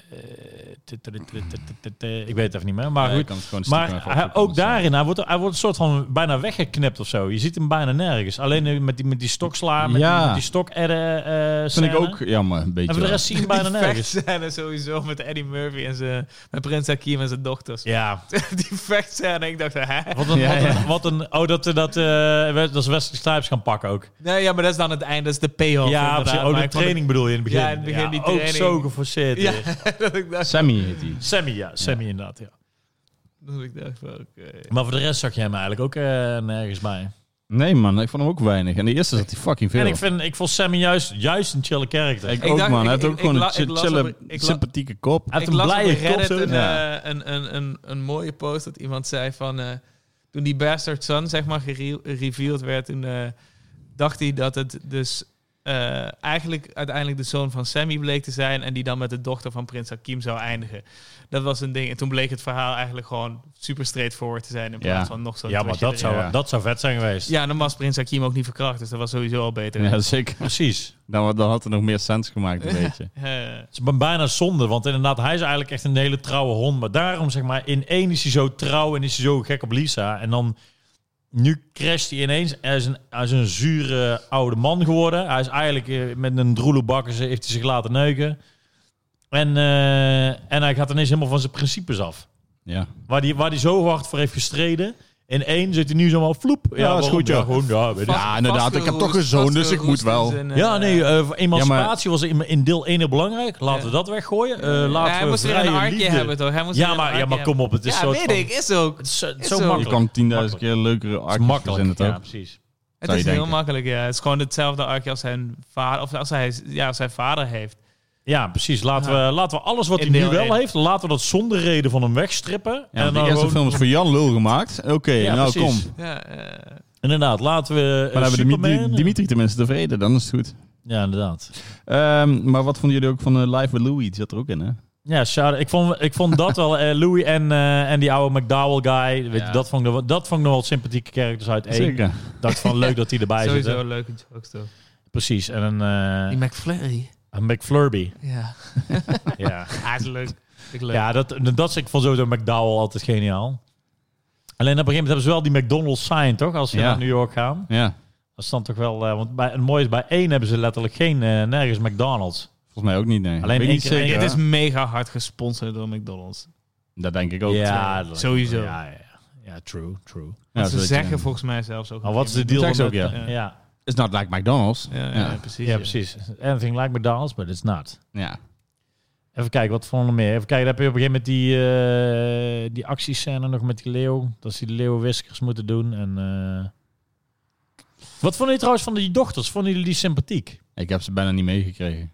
S1: tut, tut, tut, tut, tut, tut, eh, Ik weet het even niet meer, maar
S2: ja, je
S1: goed.
S2: kan het gewoon eh. stiekem
S1: Maar
S2: even
S1: hij-
S2: opzoeken
S1: ook
S2: of zo.
S1: daarin, hij wordt, hij wordt een soort van bijna weggeknipt of zo. Je ziet hem bijna nergens. Alleen nu met die, met die stoksla, met,
S2: Ja.
S1: die, met die stok edden eh
S2: Dat vind ik
S1: scène.
S2: ook jammer, een beetje.
S1: En voor de
S2: wel.
S1: rest zie je hem bijna
S3: die
S1: nergens.
S3: vechtscène sowieso met Eddie Murphy en zijn... Met Prins Hakim en zijn dochters.
S1: Ja,
S3: die vechtscène, ik dacht... Hè?
S1: wat een,
S2: Ja,
S1: wat een,
S2: ja.
S1: Wat een oh dat, eh, dat, eh, we- dat ze Wesley Snipes gaan pakken ook.
S3: Nee, ja, maar dat is dan het einde. Dat is de payoff.
S1: ja,
S3: inderdaad.
S1: precies. Oh,
S3: Maar
S1: de
S3: ik vond het-
S1: training bedoel je in het begin.
S3: Ja, in het begin die
S1: Ook
S3: training.
S1: zo geforceerd.
S3: Ja,
S1: weer.
S3: dat ik dacht...
S2: Sammy heet die.
S1: Sammy, ja. Sammy inderdaad, ja.
S3: Dat ik dacht van, oké.
S1: Maar voor de rest zag je hem eigenlijk ook eh, nergens bij.
S2: Nee, man, ik vond hem ook weinig. En de eerste zat hij fucking veel.
S1: En ik, vind, ik vond Sammy juist, juist een chille karakter.
S2: Ik
S1: Hij
S2: ook,
S3: dacht-
S2: man. Hij
S3: ik-
S2: had ook
S3: ik-
S2: gewoon
S3: ik
S2: een
S3: la-
S2: chi-
S3: ik las
S2: chille,
S3: op- ik la-
S2: sympathieke kop.
S1: heeft
S3: ik
S1: een
S3: las op
S1: blije kop.
S3: Reddit
S1: zo.
S3: een,
S2: Ja.
S3: eh, een, een, een, een mooie post dat iemand zei van... eh, toen die Bastard Son, zeg maar, gereveeld werd... toen eh, dacht hij dat het dus eh, eigenlijk uiteindelijk de zoon van Sammy bleek te zijn... en die dan met de dochter van prins Hakim zou eindigen. Dat was een ding. En toen bleek het verhaal eigenlijk gewoon super straightforward te zijn... in
S2: Ja.
S3: plaats van nog zo'n
S1: Ja, maar
S3: twistje
S1: dat
S3: erin.
S1: zou, dat zou vet zijn geweest.
S3: Ja, dan was prins Hakim ook niet verkracht, dus dat was sowieso al beter.
S2: Ja, zeker. Nou,
S1: Precies.
S2: Dan, dan had het nog meer sens gemaakt, een beetje.
S3: Eh,
S1: Het is bijna zonde, want inderdaad, hij is eigenlijk echt een hele trouwe hond. Maar daarom, zeg maar, in één is hij zo trouw en is hij zo gek op Lisa. En dan, nu crasht hij ineens. Hij is een, hij is een zure oude man geworden. Hij is eigenlijk eh, met een droelebakker, ze- heeft hij zich laten neuken. En, eh, en hij gaat ineens helemaal van zijn principes af.
S2: Ja.
S1: Waar hij waar die zo hard voor heeft gestreden. In één zit hij nu zomaar floep. Ja,
S2: is
S1: waarom?
S2: goed, ja.
S1: Ja, gewoon, ja, weet ik.
S3: vast-
S2: inderdaad, ik heb
S3: vastgeroest-
S2: toch een zoon, dus ik moet
S3: vastgeroest
S2: wel.
S3: in zijn, eh,
S1: Ja, nee, eh emancipatie
S2: Ja,
S1: was in, in deel 1 heel belangrijk. Laten
S3: Ja.
S1: we dat weggooien. Eh, laten
S3: Ja, hij
S1: we
S3: moest weer een
S1: vrije
S3: artje
S1: liefde.
S3: hebben, toch? Hij moest weer
S1: Ja,
S3: een
S1: maar, ja,
S3: artje
S1: maar
S3: hebben.
S1: kom op. Het is
S3: Ja,
S1: soort
S3: weet
S1: van-
S3: ik, is ook.
S1: Het is, zo-
S3: Is
S1: zo
S3: zo.
S2: Je
S1: makkelijk.
S2: kan 10.000
S1: Makkelijk.
S2: keer leukere
S1: Het
S2: acties
S1: is makkelijk,
S2: in het
S1: ja,
S2: ook.
S1: precies.
S3: Het
S2: Zou
S3: is
S2: je
S3: heel
S2: denken.
S3: makkelijk, ja. Het is gewoon hetzelfde arkje als zijn vader, of als hij, ja, als zijn vader heeft.
S1: Ja, precies. Laten, we, laten we alles wat
S3: In
S1: hij nu
S3: deel
S1: wel
S3: één.
S1: heeft, laten we dat zonder reden van hem wegstrippen.
S2: Ja,
S1: en
S2: want die
S1: dan
S2: eerste
S1: gewoon-
S2: film is voor Jan Lul gemaakt. Oké,
S1: Ja,
S2: nou kom.
S1: precies.
S2: Maar
S3: Ja, eh,
S1: Inderdaad, laten we eh,
S2: dan hebben we
S1: Superman...
S2: Dimitri, Dimitri tenminste tevreden, dan is het goed.
S1: Ja, inderdaad.
S2: Ehm, maar wat vonden jullie ook van eh, Live with Louis? Die zat er ook in, hè?
S1: Ja, shout ik vond, ik vond dat wel... eh, Louis en, eh, en die oude McDowell guy, weet je,
S2: Ja.
S1: dat, vond ik, nog wel- dat vond ik nog wel sympathieke characters uit één.
S2: Zeker.
S1: dacht van, leuk dat die erbij zit.
S3: sowieso
S1: hè.
S3: leuke jokes, toch?
S1: Precies. En een, eh,
S3: Die McFlurry.
S1: een McFlurby.
S3: Ja.
S1: ja.
S3: Hij is leuk. Ik leuk.
S1: Ja, dat, dat ik van sowieso McDowell altijd geniaal. Alleen op een gegeven moment hebben ze wel die McDonald's sign, toch? Als ze
S2: Ja.
S1: naar New York gaan.
S2: Ja,
S1: Dat is dan toch wel... eh, want bij, een mooi is, bij één hebben ze letterlijk geen, eh, nergens McDonald's.
S2: volgens mij ook niet, nee.
S1: Alleen
S2: Weet
S1: één
S2: niet
S1: keer-
S2: zeker,
S3: Dit is
S2: hè?
S3: mega hard gesponsord door McDonald's.
S2: Dat denk ik ook.
S1: ja, dat-
S3: sowieso.
S1: Ja, ja, ja, true, true.
S2: Ja,
S3: Want ze
S2: zoiets,
S3: zeggen
S2: ja.
S3: volgens mij zelfs ook...
S1: Maar wat is de
S3: Ja,
S1: deal?
S2: Dat
S1: dan
S2: zeggen ze
S1: met-
S2: ook,
S1: ja.
S3: ja.
S1: Ja.
S2: It's not like McDonald's.
S3: Ja,
S2: Ja.
S3: ja, precies.
S1: ja, precies. Anything like McDonald's, but it's not.
S2: Ja.
S1: Even kijken, wat vonden we nog meer? Even kijken, daar heb je op een gegeven moment die, eh die actiescène nog met die leeuw. Dat ze die leeuwenwiskers moeten doen. En, eh, Wat vonden jullie trouwens van die dochters? Vonden jullie die sympathiek?
S2: Ik heb ze bijna niet meegekregen.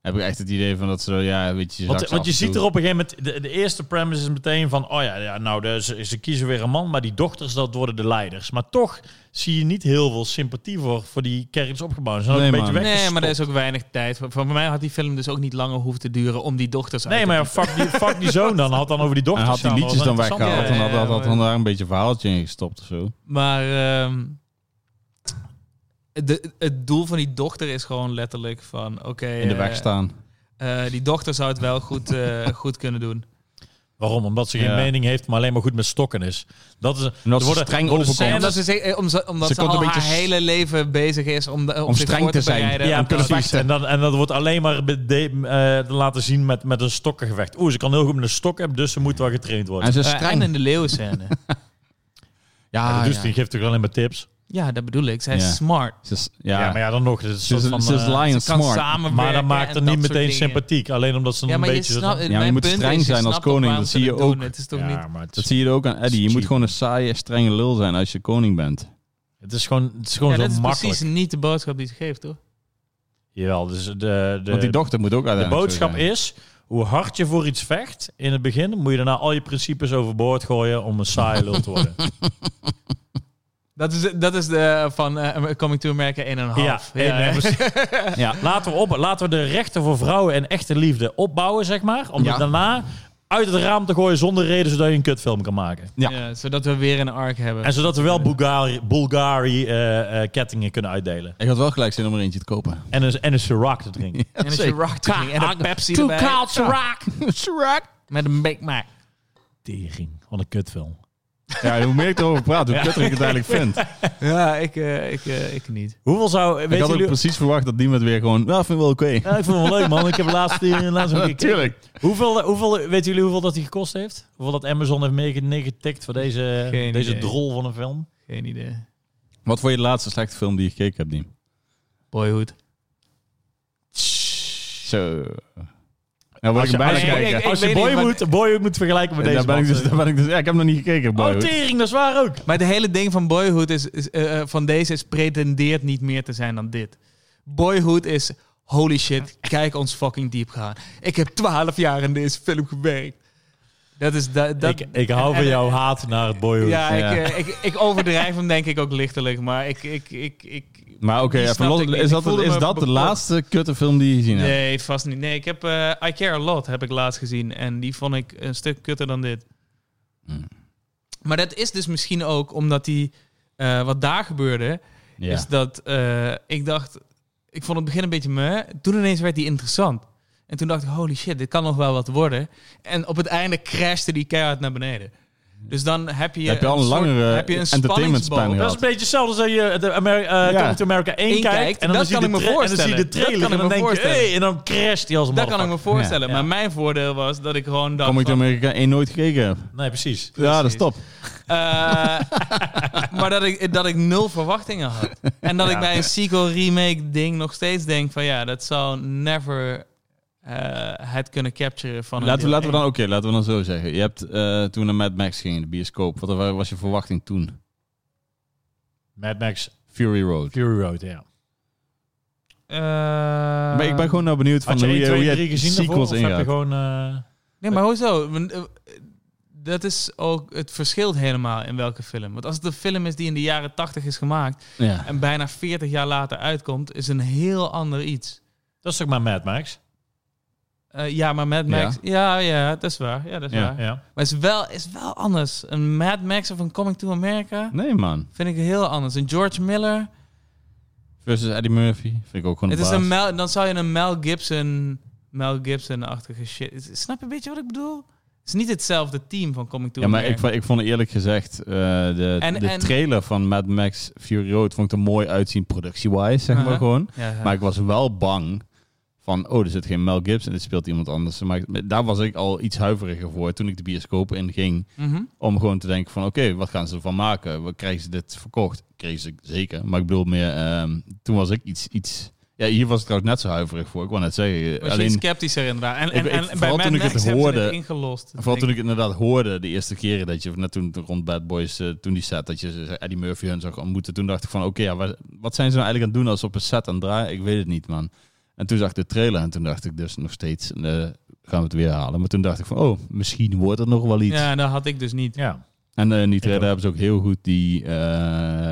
S2: Heb ik echt het idee van dat ze, ja, weet je... zag
S1: Want,
S2: ze
S1: want
S2: af
S1: je
S2: en toe.
S1: ziet er op een gegeven moment... De, de eerste premise is meteen van... Oh ja, ja nou, de- ze, ze kiezen weer een man. Maar die dochters, dat worden de leiders. Maar toch zie je niet heel veel sympathie voor, voor die kerels opgebouwd. Ze zijn ook
S2: Nee,
S1: een beetje
S2: man.
S3: Nee,
S1: weggestopt.
S3: maar er is ook weinig tijd. Voor, voor mij had die film dus ook niet langer hoeven te duren om die dochters uit
S1: Nee,
S3: te
S1: maar fuck die, fuck die zoon dan. Had dan over die
S2: En
S1: dochters...
S2: had die
S1: samen, was
S2: liedjes dan
S1: wel interessant.
S2: weggehaald en had,
S3: Ja,
S2: had,
S3: ja,
S2: had dan daar een beetje een verhaaltje in gestopt of zo.
S3: Maar ehm, de, het doel van die dochter is gewoon letterlijk van... Oké,
S2: In de
S3: eh,
S2: weg staan.
S3: eh, die dochter zou het wel goed, eh, goed kunnen doen.
S1: Waarom? Omdat ze geen
S2: Ja.
S1: mening heeft, maar alleen maar goed met stokken is. Dat is een-
S2: Omdat ze
S1: worden-
S2: streng
S1: worden
S2: overkomt.
S3: Nee,
S1: scènes-
S3: omdat ze, zich- eh, om ze- omdat
S2: Ze
S3: ze,
S2: komt
S3: al
S2: een
S3: haar
S2: beetje s-
S3: hele leven bezig is om, de, om, zich
S2: streng
S3: voor
S2: te
S3: te,
S2: zijn.
S3: bereiden. Eh,
S1: Ja,
S3: om te-
S1: precies.
S2: vechten.
S1: En, dan, en dat wordt alleen maar bede- eh, laten zien met, met een stokkengevecht. Oeh, ze kan heel goed met een stok hebben, dus ze moet wel getraind worden.
S2: En ze is
S3: Eh,
S2: streng.
S3: en in de leeuwenscène.
S2: ja,
S1: Ja, dus
S2: Ah, ja.
S1: die geeft toch alleen maar tips.
S3: ja, dat bedoel ik. Zij is
S2: Ja.
S3: smart.
S2: Ze is,
S1: Ja,
S2: ja,
S1: maar ja, dan nog. Het is een
S2: ze
S1: soort
S2: is,
S1: van,
S2: ze is
S1: eh,
S2: lion
S3: Ze kan
S2: smart.
S3: samenwerken
S1: maar dat
S3: en
S1: maakt er
S3: dat
S1: niet
S3: soort
S1: meteen
S3: dingen.
S1: sympathiek. Alleen omdat ze
S3: Ja,
S1: een
S3: maar je
S1: beetje...
S3: snapt...
S2: je
S3: mijn
S2: moet
S3: punt
S2: streng
S3: is, je
S2: zijn als
S3: snapt ook
S2: koning,
S3: waarom
S2: dat
S3: ze
S2: zie je ook.
S3: doen. Het is toch
S1: ja,
S3: niet...
S1: maar het
S2: Dat
S1: is,
S2: zie je er ook aan Eddie. Je moet
S1: Cheap.
S2: gewoon een saaie, strenge lul zijn als je koning bent.
S1: het is gewoon, het is gewoon
S3: Ja,
S1: zo
S3: dat is
S1: makkelijk.
S3: precies niet de boodschap die ze geeft, toch?
S1: Jawel, dus de,
S2: Want die
S1: de,
S2: dochter moet ook
S1: de
S2: uiteindelijk
S1: boodschap is... Hoe hard je voor iets vecht in het begin... moet je daarna al je principes overboord gooien... om een saaie lul te worden.
S3: Dat is, dat is de van eh, Coming to America 1,5.
S1: Ja, en, eh, precies. ja. Laten, we op, laten we de rechten voor vrouwen en echte liefde opbouwen, zeg maar. Om
S2: Ja.
S1: het daarna uit het raam te gooien zonder reden, zodat je een kutfilm kan maken.
S2: Ja.
S3: Ja, zodat we weer een arc hebben.
S1: En zodat we wel Bulgari, Bulgari eh, eh, kettingen kunnen uitdelen.
S2: Ik had wel gelijk zin om er eentje te kopen.
S1: En een, en een Ciroc te drinken.
S3: en een Ciroc drink en een Pepsi erbij.
S1: Ciroc!
S2: Shrek!
S3: Met een Big Mac.
S1: Tering, wat een kutfilm.
S2: Ja, hoe meer ik erover praat, hoe kutter ik het eigenlijk vind.
S3: Ja, ik, eh, ik, eh, ik niet.
S1: Hoeveel zou...
S2: Ik
S1: Weet
S2: had ook
S1: jullie,
S2: precies verwacht dat niemand weer gewoon... Nou, vind ik wel oké.
S1: Ja, ik vond het wel leuk, man. Ik heb laatst... eh, laatst nog een keer gekeken.
S2: Natuurlijk.
S1: hoeveel, hoeveel, weten jullie hoeveel dat hij gekost heeft? Hoeveel dat Amazon heeft meegetikt voor deze,
S3: Geen
S1: deze
S3: idee.
S1: drol van een film?
S3: Geen idee.
S2: Wat vond je de laatste slechte film die je gekeken hebt, Diem?
S3: Boyhood.
S2: Zo. Nou, word
S1: Als
S2: ik
S1: je-
S2: Nou, hem bijna
S1: als je-
S2: kijken.
S3: ik- ik-
S1: Als je
S3: weet niet,
S1: Boyhood
S3: maar-
S1: Boyhood moet vergelijken met
S2: En
S1: deze
S2: daar ben ik
S1: man.
S2: dus, daar ben ik dus, ja, ik heb nog niet gekeken, boy.
S1: Oh, tering, dat is waar ook.
S3: Maar de hele ding van Boyhood is, is, eh, eh, van deze is pretendeert niet meer te zijn dan dit. Boyhood is holy shit, kijk ons fucking diep gaan. Ik heb twaalf jaar in deze film gewerkt. Dat is da- dat.
S1: ik, ik hou van jouw haat naar het Boyhood.
S3: ja,
S2: ja.
S3: Ik, eh, ik, ik overdrijf hem denk ik ook lichtelijk, maar ik, ik, ik, ik,
S2: maar oké,
S3: Die
S2: even
S3: snapte
S2: los-
S3: ik niet.
S2: is
S3: Ik
S2: dat,
S3: voelde
S2: is
S3: me
S2: dat de
S3: bekocht.
S2: laatste kutte film die je gezien hebt?
S3: Nee, vast niet. Nee, ik heb eh, I Care A Lot heb ik laatst gezien. En die vond ik een stuk kutter dan dit.
S2: Hmm.
S3: Maar dat is dus misschien ook omdat die... eh, wat daar gebeurde,
S2: Ja.
S3: is dat eh, ik dacht... Ik vond het begin een beetje meh. Toen ineens werd die interessant. En toen dacht ik, holy shit, dit kan nog wel wat worden. En op het einde crashte die keihard naar beneden. Dus dan heb je...
S2: heb je al een
S3: soort-
S2: langere
S3: heb je een
S2: entertainment span
S3: spanningsboog.
S1: Dat is een beetje hetzelfde als dat je de Ameri eh,
S2: Ja.
S1: Coming to America 1
S3: Eén
S1: kijkt.
S3: kijkt,
S1: en dan,
S3: dat
S1: zie je
S3: kan
S1: de
S3: ik me
S1: tra- en dan zie je de
S3: voorstellen.
S1: trailer
S3: Dat
S1: en
S3: kan
S1: dan
S3: ik me
S1: denk je,
S3: voorstellen.
S1: hey, en dan crasht hij als een
S3: Dat kan ik me
S1: motherfucker.
S3: voorstellen.
S1: Ja.
S3: Maar mijn voordeel was dat ik gewoon dacht...
S2: Kom ik
S3: van-
S2: Amerika 1 nooit gekeken heb.
S1: Nee, precies.
S2: Ja, dat is top.
S3: Eh, maar dat ik, dat ik nul verwachtingen had. En dat ik bij een sequel remake ding nog steeds denk van ja, dat zou never eh, het kunnen capturen van een
S2: Laten we,
S3: deel
S2: laten we dan, oké, laten we dan zo zeggen. Je hebt eh, toen naar Mad Max ging in de bioscoop. Wat wa- was je verwachting toen?
S1: Mad Max
S2: Fury Road.
S1: Fury Road, ja.
S3: één. Eh,
S2: maar ik ben gewoon nou benieuwd van
S1: Had je
S2: hoe
S1: 1,
S2: je, hoe
S1: 2,
S2: je
S1: 3 gezien daarvoor?
S2: sequels
S1: Of heb je
S2: ingaat.
S1: gewoon... eh,
S3: Nee, maar hoezo? Want, eh, Dat is ook, het verschilt helemaal in welke film. Want als het een film is die in de jaren 80 is gemaakt
S2: Ja.
S3: en bijna 40 jaar later uitkomt, is een heel ander iets.
S1: Dat is toch maar Mad Max?
S3: Eh, ja, maar Mad
S2: Ja.
S3: Max. Ja, ja, dat is waar. Ja, dat is
S2: Ja.
S3: waar.
S1: Ja.
S3: Maar het is wel, is wel anders. Een Mad Max of een Coming to America
S2: Nee, man.
S3: vind ik heel anders. Een George Miller.
S2: Versus Eddie Murphy. Vind ik ook gewoon
S3: Het
S2: een
S3: is een
S2: baas.
S3: Mel, dan zou je een Mel Gibson, Mel Gibson-achtige shit. Is- Snap je een beetje wat ik bedoel? Het is niet hetzelfde team van Coming to
S2: Ja, maar
S3: America.
S2: ik, vo- ik vond eerlijk gezegd eh, de,
S3: En-
S2: de
S3: en- maar
S2: trailer van Mad Max Fury Road vond ik er mooi uitzien productie-wise, zeg maar
S3: Aha.
S2: gewoon.
S3: Ja, ja.
S2: Maar ik was wel bang van, oh, er zit geen Mel Gibson, dit speelt iemand anders. Maar ik- daar was ik al iets huiveriger voor toen ik de bioscoop inging.
S3: Mhm.
S2: Om gewoon te denken van, oké, wat gaan ze ervan maken? Wat krijgen ze dit verkocht? Kregen ze zeker. Maar ik bedoel meer, ehm, toen was ik iets... iets ja, hier was ik trouwens net zo huiverig voor. Ik wou net zeggen.
S3: Was je
S2: alleen
S3: iets sceptischer inderdaad. En, en,
S2: Ik- ik-
S3: en bij
S2: vooral
S3: Mad
S2: toen ik
S3: Max
S2: het
S3: hebben ze
S2: hoorde-
S3: ingelost.
S2: Vooral toen ik het inderdaad hoorde de eerste keren dat je net toen rond Bad Boys, eh, toen die set, dat je ze- Eddie Murphy hun zag ontmoeten, toen dacht ik van oké, ja, wa- wat zijn ze nou eigenlijk aan het doen als ze op een set aan het draaien? Ik weet het niet man. En toen zag ik de trailer en toen dacht ik dus nog steeds, eh, gaan we het weer halen. Maar toen dacht ik van oh, misschien wordt het nog wel iets.
S3: Ja, dat had ik dus niet.
S1: Ja.
S2: En eh, in die
S1: ook.
S2: trailer hebben ze ook heel goed die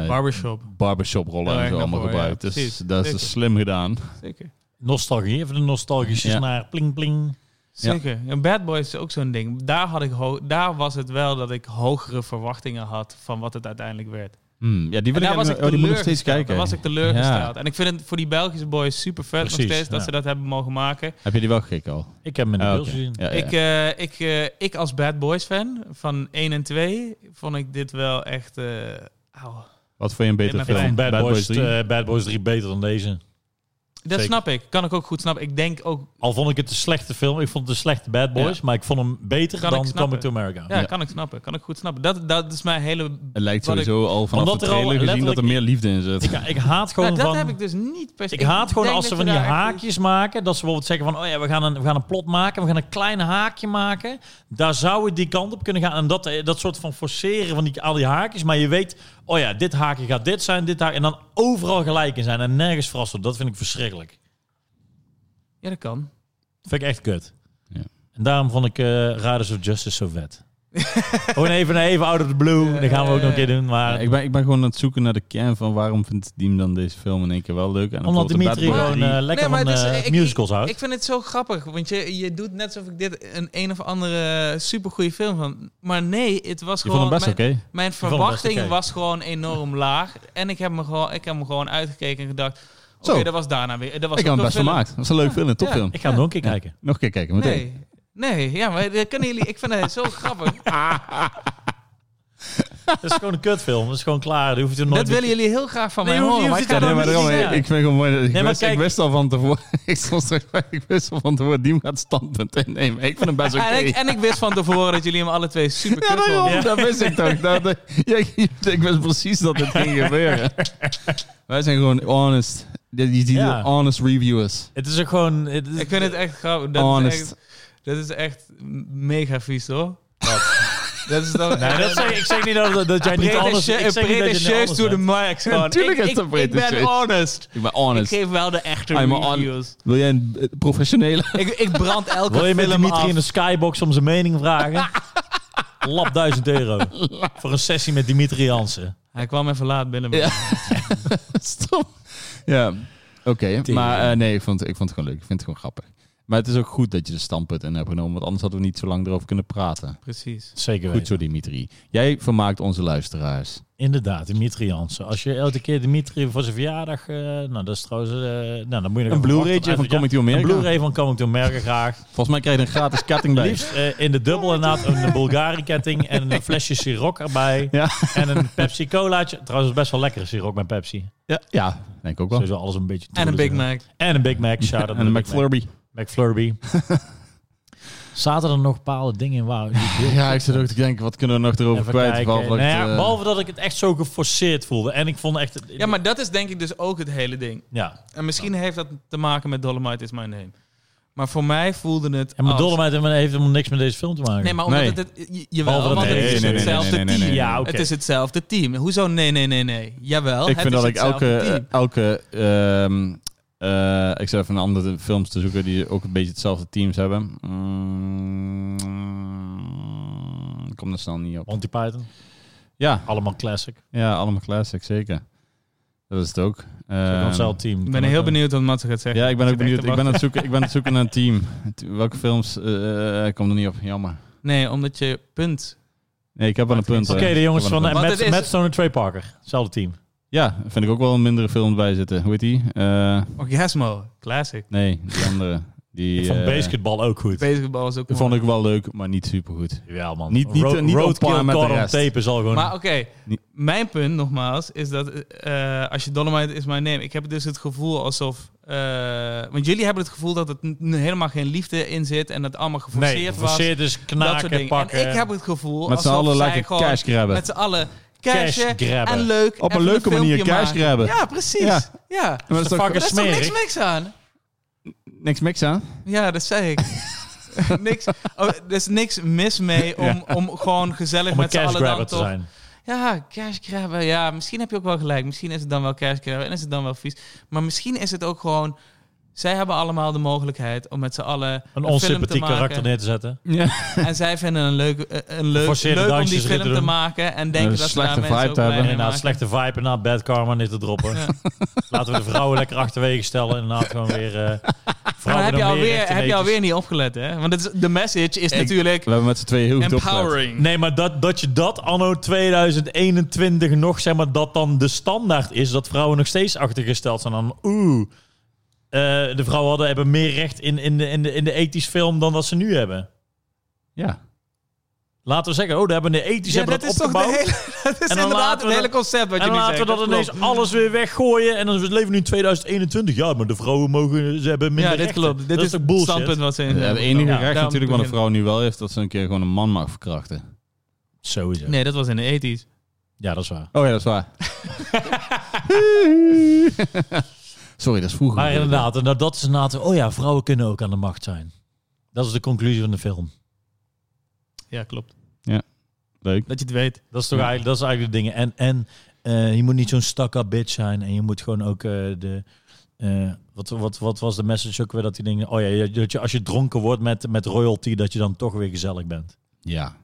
S2: eh,
S3: Barbershop.
S2: barbershop rollen
S3: Heel
S2: en
S3: erg
S2: zo allemaal
S3: daarvoor, ja,
S2: gebruikt. dus
S3: precies.
S2: dat is
S3: Zeker.
S2: slim gedaan.
S3: Zeker.
S1: Nostalgie, even de nostalgische
S2: Ja.
S1: naar pling pling.
S3: Zeker. En Bad Boys is ook zo'n ding. Daar, had ik ho- daar was het wel dat ik hogere verwachtingen had van wat het uiteindelijk werd.
S2: Hmm, ja, die wil
S3: En
S2: ik,
S3: daar was ik
S2: eigenlijk- oh, die moet ik nog steeds
S3: teleurgesteld.
S2: kijken.
S3: Daar was ik teleurgesteld. En ik vind het voor die Belgische boys super vet nog
S1: Precies,
S3: steeds dat
S1: ja.
S3: ze dat hebben mogen maken.
S2: Heb je die wel gekeken al?
S1: Ik heb hem in de
S2: Ah,
S1: beeld
S2: oké.
S1: gezien.
S2: Ja, ja,
S3: Ik, eh, ik, eh, ik als Bad Boys fan van 1 en 2 vond ik dit wel echt... eh auw.
S2: Wat vond je een betere
S3: Ik
S1: Ik
S3: ben
S2: film?
S1: vond Bad, Boys,
S2: 3?
S1: eh, Bad Boys 3 beter dan deze.
S3: Dat
S1: Zeker.
S3: snap ik. Kan ik ook goed snappen. Ik denk ook...
S1: Al vond ik het een slechte film. Ik vond het een slechte Bad Boys. Maar ik vond hem beter
S3: Kan ik
S1: dan
S3: snappen.
S1: Coming to America.
S3: Ja,
S2: Ja.
S3: kan ik snappen. Kan ik goed snappen. Dat, dat is mijn hele...
S2: Het lijkt
S3: Wat ik-
S2: sowieso al vanaf
S1: Omdat
S2: de
S1: er al
S2: trailer gezien dat er
S1: letterlijk-
S2: meer liefde in zit.
S1: Ik, ik haat gewoon
S3: Nou, dat
S1: van...
S3: heb ik dus niet per se.
S1: Ik haat gewoon
S3: denk
S1: als ze
S3: dat
S1: van
S3: je
S1: die
S3: daar echt-
S1: haakjes maken. Dat ze bijvoorbeeld zeggen van... Oh ja, we gaan, een, we gaan een plot maken. We gaan een klein haakje maken. Daar zou het die kant op kunnen gaan. En dat, eh, dat soort van forceren van die, al die haakjes. Maar je weet... Oh ja, dit haakje gaat dit zijn. Dit haakje. En dan overal gelijk in zijn. En nergens verrast worden. Dat vind ik verschrikkelijk.
S3: Ja, dat kan.
S1: Dat vind ik echt kut.
S2: Ja.
S1: En daarom vond ik eh Riders of Justice zo vet. Gewoon even, even out of the blue. dat gaan we ook nog een keer doen.
S2: Ja,
S1: Maar
S2: ik, ben, ik ben gewoon aan het zoeken naar de kern van waarom vindt die hem dan deze film in één keer wel leuk. En dan
S1: omdat
S2: bijvoorbeeld
S1: Dimitri
S2: de Bad Boys
S1: gewoon eh,
S2: 3.
S1: lekker
S3: Nee, maar
S1: van
S3: het is-
S1: eh,
S3: ik-
S1: musicals houdt.
S3: Ik vind het zo grappig, want je, je doet net alsof ik dit een een of andere supergoeie film van. Maar nee, het was
S2: Je
S3: gewoon.
S2: vond hem best
S3: mijn-
S2: oké.
S3: Mijn
S1: vond hem best
S3: verwachting
S1: oké.
S3: was gewoon enorm laag. En ik heb me gewoon, ik heb me gewoon uitgekeken en gedacht... Oké,
S2: Zo.
S3: dat was daarna weer. Dat was
S2: Ik heb
S3: een
S2: hem best
S3: film.
S2: gemaakt. Dat is een leuk film, een topfilm.
S1: Ik ga nog een keer kijken.
S2: Nog een keer kijken, meteen.
S3: Nee, nee, ja, maar dat kunnen jullie... Ik vind het zo grappig.
S1: Dat is gewoon een kutfilm. Dat is gewoon klaar. Dat hoef je er nooit
S3: dat willen jullie heel graag van
S1: Nee,
S3: mij
S1: je hoeft- je
S3: horen. Maar ik
S1: hoeft
S3: kan
S1: het
S2: Nee,
S3: dat
S2: maar
S1: niet
S3: niet
S2: daarom,
S1: zien, ja.
S2: ik,
S3: zien.
S2: ik vind gewoon mooi dat- ik,
S1: Nee, maar
S2: wist, ik
S1: kijk-
S2: wist al van tevoren, ik, stond straks bij, ik wist al van tevoren, die gaat standpunt innemen. Ik vind hem best oké.
S3: En, ik, en ik wist van tevoren dat jullie hem alle twee super
S2: Ja,
S3: kut
S2: daarom.
S3: vonden.
S1: Ja.
S2: Dat wist ik toch. Dat, dat- ja, ik wist precies dat dit ging gebeuren. Wij zijn gewoon honest. Die, die, die
S1: Ja.
S2: honest reviewers.
S1: Het is ook gewoon... Het is,
S3: Ik vind het echt grappig. Dat is
S2: Honest.
S3: echt, dat is echt mega vies, hoor. Dat is dan...
S1: Nee, dat zeg, ik zeg niet dat, dat jij niet anders... Ik zeg niet dat je niet
S3: Pretentieus
S1: anders
S3: to the
S1: bent.
S3: max, gewoon.
S2: Natuurlijk
S3: Ik-
S2: is
S3: ik-
S2: dat
S3: Ik
S2: pretentieus.
S3: ben honest.
S2: Ik ben
S3: Ik
S2: honest.
S3: geef wel de echte
S2: I'm on-
S3: reviews.
S2: Wil jij een eh, professionele?
S3: Ik, ik brand elke
S1: Wil je met
S3: film
S1: Dimitri
S3: af.
S1: in de skybox om zijn mening vragen? Lap 1000 euro. Voor een sessie met Dimitri Jansen.
S3: Hij kwam even laat binnen.
S2: Ja. Stop. Ja, oké.
S1: Tering.
S2: Maar eh, nee, ik vond, ik vond het gewoon leuk. Ik vind het gewoon grappig. Maar het is ook goed dat je de standpunt in hebt genomen, want anders hadden we niet zo lang erover kunnen praten.
S3: Precies.
S1: Zeker
S2: Goed zo, Dimitri. Jij vermaakt onze luisteraars.
S1: Inderdaad, Dimitri Jansen. Als je elke keer Dimitri voor zijn verjaardag... eh, nou, dat is trouwens... eh, nou, dan moet je nog
S2: Een
S1: even
S2: Blu-raytje
S1: wachten.
S2: van Coming to
S1: Een
S2: America.
S1: Blu-ray van Coming to America graag.
S2: Volgens mij krijg je een gratis ketting bij.
S1: Liefst eh, in de dubbel inderdaad een Bulgari-ketting en een flesje Siroc erbij.
S2: Ja.
S1: En een Pepsi-colaatje. Trouwens, het is best wel lekker Siroc met Pepsi.
S2: Ja, ja, denk ik ook wel.
S1: Sowieso alles een beetje...
S3: En een Big
S1: troebelig.
S3: Mac.
S1: En een Big Mac. Shout out
S2: en een McFlurby.
S1: McFlurby. Zaten er nog bepaalde dingen in waar...
S2: Ja, ik zit ook te denken, wat kunnen we nog erover
S1: Even
S2: kwijt?
S1: kijken.
S2: Behalve dat
S1: Nou
S2: ik,
S1: ja,
S2: eh,
S1: behalve dat ik het echt zo geforceerd voelde. En ik vond echt...
S3: Ja, maar dat is denk ik dus ook het hele ding.
S1: Ja.
S3: En misschien heeft dat te maken met Dolomite is my name. Maar voor mij voelde het.
S1: En mijn
S3: als-
S1: Dolomite heeft helemaal niks met deze film te maken.
S3: Nee, maar omdat
S2: Nee.
S3: het. het je- jawel,
S1: Behalve dat-
S3: want
S1: nee,
S3: het is
S1: nee, nee,
S3: hetzelfde
S2: nee, nee, nee,
S3: team.
S2: nee, nee.
S1: Ja, oké.
S3: Het is hetzelfde team. Hoezo? Nee, nee, nee, nee. Jawel.
S2: ik
S3: het
S2: vind
S3: is
S2: dat ik
S3: hetzelfde
S2: elke,
S3: team.
S2: elke ehm, eh, ik zat even een andere films te zoeken die ook een beetje hetzelfde teams hebben. Mm, ik kom er snel niet op.
S1: Monty Python.
S2: Ja,
S1: Allemaal classic.
S2: ja, allemaal classic, zeker. Dat is het ook. Ehm,
S1: Hetzelfde team.
S3: Ik ben heel benieuwd wat Mats gaat zeggen.
S2: ja, ik ben ook
S3: zit echt
S2: benieuwd.
S3: te
S2: Ik ben, aan
S3: wachten.
S2: het zoeken, ik ben aan het zoeken naar een team. Het- Welke films? eh, ik kom er niet op, jammer.
S3: Nee, omdat je punt.
S2: Nee, ik heb wel een punt.
S1: Oké,
S2: hoor.
S1: de jongens
S2: Ik
S1: van
S2: heb wel
S1: eh,
S2: een
S3: Want
S1: Matt,
S3: het is-
S1: Matt Stone en Trey Parker. Hetzelfde team.
S2: punt. Ja, vind ik ook wel een mindere film bij zitten. Hoe heet die? Eh,
S3: Orgasmo. Classic.
S2: nee, die andere. Die,
S1: Ik vond
S2: eh,
S1: basketbal ook goed.
S3: Basketbal is ook.
S2: Dat
S3: mooi.
S2: vond ik wel leuk, maar niet supergoed.
S1: Ja, man.
S2: Niet- niet-
S1: Ro-
S2: niet on
S1: Roadkill
S2: par met de
S1: Caught on
S2: rest.
S1: Tape is al gewoon...
S3: Maar oké,
S2: Niet-
S3: mijn punt nogmaals is dat eh, als je Dolomite is my name, ik heb dus het gevoel alsof, eh, want jullie hebben het gevoel dat het n- helemaal geen liefde in zit en dat het allemaal geforceerd
S1: nee,
S3: was.
S1: geforceerd is
S3: dat soort
S1: knaken,
S3: dingen.
S1: pakken.
S3: En ik heb het gevoel
S2: Met z'n
S3: alsof
S2: allen
S3: zij
S2: lekker
S3: gewoon
S2: cash grabben.
S3: Met z'n allen
S1: Cash
S3: cashen
S1: grabben.
S3: en leuk.
S2: Op een
S3: even
S2: leuke manier
S3: filmpje
S2: cash
S3: maken.
S2: grabben.
S3: Ja, precies.
S2: Ja.
S3: Ja.
S2: Maar
S1: Dat is toch
S3: Daar is toch niks
S1: smerig?
S3: niks aan?
S2: niks mix aan?
S3: Ja, dat zei ik. niks, oh, er is niks mis mee om, om gewoon
S1: Om
S3: gezellig
S1: een
S3: met z'n
S1: cash
S3: allen dan
S1: grabber te
S3: toch
S1: zijn.
S3: ja, cash grabben. Ja, misschien heb je ook wel gelijk. Misschien is het dan wel cash grabben en is het dan wel vies. Maar misschien is het ook gewoon... Zij hebben allemaal de mogelijkheid om met z'n allen
S1: Een
S3: film te
S1: onsympathiek
S3: maken.
S1: karakter neer te zetten.
S2: Ja.
S3: En zij vinden een leuk, eh, een leuk,
S1: Geforceerde
S3: leuk om die
S1: dansjes erin
S3: film
S1: te
S3: te
S1: doen.
S3: maken. En denken
S2: Een
S3: dat ze
S2: slechte
S3: daar mensen
S2: vibe
S3: ook
S2: te hebben.
S3: blij
S1: En
S3: mee
S1: inderdaad,
S3: maken.
S1: slechte vibe en inderdaad, bad karma neer te droppen.
S3: Ja.
S1: Laten we de vrouwen lekker achterwege stellen. En inderdaad gewoon weer... eh
S3: Maar
S1: vrouwen
S3: heb je,
S1: dan
S3: alweer,
S1: echt
S3: heb je
S1: netjes.
S3: alweer niet opgelet, hè? Want het is- de message is
S2: Ik-
S3: natuurlijk
S2: We hebben met z'n tweeën heel goed opgelet.
S3: empowering.
S1: Nee, maar dat, dat je dat anno 2021 nog, zeg maar, dat dan de standaard is. Dat vrouwen nog steeds achtergesteld zijn aan, oeh, eh, de vrouwen hadden, hebben meer recht in, in, de, in, de, in de ethisch film dan dat ze nu hebben.
S2: Ja.
S1: Laten we zeggen, oh, daar hebben de ethisch
S3: Ja,
S1: hebben
S3: dat
S1: dat
S3: is toch de
S1: opgebouwd.
S3: hele, dat is
S1: dan laten
S3: inderdaad
S1: we
S3: het hele
S1: dat-
S3: concept wat
S1: en
S3: je nu
S1: laten
S3: zegt.
S1: we dan
S3: dat
S1: ineens
S3: klopt.
S1: alles weer weggooien. En dan is het leven nu in 2021. Ja, maar de vrouwen mogen, ze hebben minder
S3: Ja, dit
S1: rechten.
S3: klopt. Dit
S1: dat
S3: is
S1: is toch
S3: het
S1: bullshit?
S3: standpunt wat ze in
S2: Het
S3: hebben
S2: enige
S3: genomen.
S2: recht
S3: Daarom
S2: natuurlijk wat een
S3: begin-
S2: vrouw nu wel heeft, dat ze een keer gewoon een man mag verkrachten.
S1: Sowieso.
S3: e- Nee, dat was in de 80s.
S1: Ja, dat is waar.
S2: Oh ja, dat is waar. Sorry, dat is vroeger.
S1: Maar inderdaad, en dat- dat is inderdaad, oh ja, vrouwen kunnen ook aan de macht zijn. Dat is de conclusie van de film.
S3: Ja, klopt.
S2: Leuk.
S3: Dat je het weet.
S1: Dat is toch
S2: Ja.
S1: eigenlijk, dat is eigenlijk de dingen. En, en eh, je moet niet zo'n stakka bitch zijn. En je moet gewoon ook eh, de... eh, wat, wat, wat was de message ook weer dat die dingen... Oh ja, je- dat je, als je dronken wordt met, met royalty, dat je dan toch weer gezellig bent.
S2: Ja.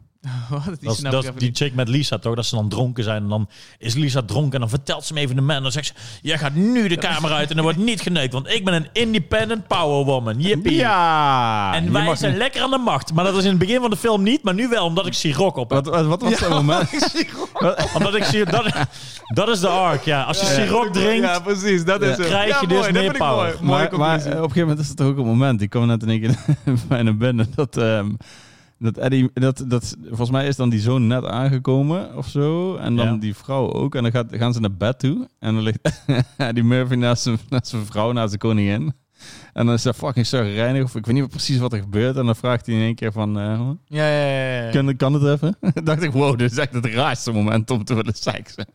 S3: Wat? Die
S1: Dat is, dat
S3: snap ik
S1: is
S3: even
S1: die
S3: niet.
S1: chick met Lisa toch, dat ze dan dronken zijn. En dan is Lisa dronken en dan vertelt ze hem even de man. Dan zegt ze, jij gaat nu de kamer uit en er wordt niet geneukt. Want ik ben een independent power woman. Yippie.
S2: Ja!
S1: En
S2: Je
S1: wij
S2: mag
S1: zijn
S2: niet-
S1: lekker aan de macht. Maar dat was in het begin van de film niet, maar nu wel, omdat ik Sirok op heb.
S2: Wat, wat, wat was dat moment?
S1: Omdat ik zie dat, dat is de arc, ja. Als je Sirok drinkt,
S3: Ja, precies. Dat is
S2: Ja.
S3: het.
S1: Krijg je
S3: ja,
S1: dus
S3: mooi, dat
S1: meer
S3: vind ik mooi.
S1: power.
S3: Mooie
S2: maar, maar, eh,
S3: conclusie.
S2: op een gegeven moment is het toch ook een moment. Ik kwam net in één keer bij een bende dat. ehm, dat Eddie, dat, dat, volgens mij is dan die zoon net aangekomen of zo. En dan
S1: Ja.
S2: die vrouw ook. En dan gaat, gaan ze naar bed toe. En dan ligt die Murphy naast zijn, naast zijn vrouw, naast de koningin. En dan is dat fucking reinig Of ik weet niet precies wat er gebeurt. En dan vraagt hij in één keer van... eh,
S3: Ja, ja, ja. ja.
S2: kan, kan het even? dacht ik, wow, dit is echt het raarste moment om te willen seksen.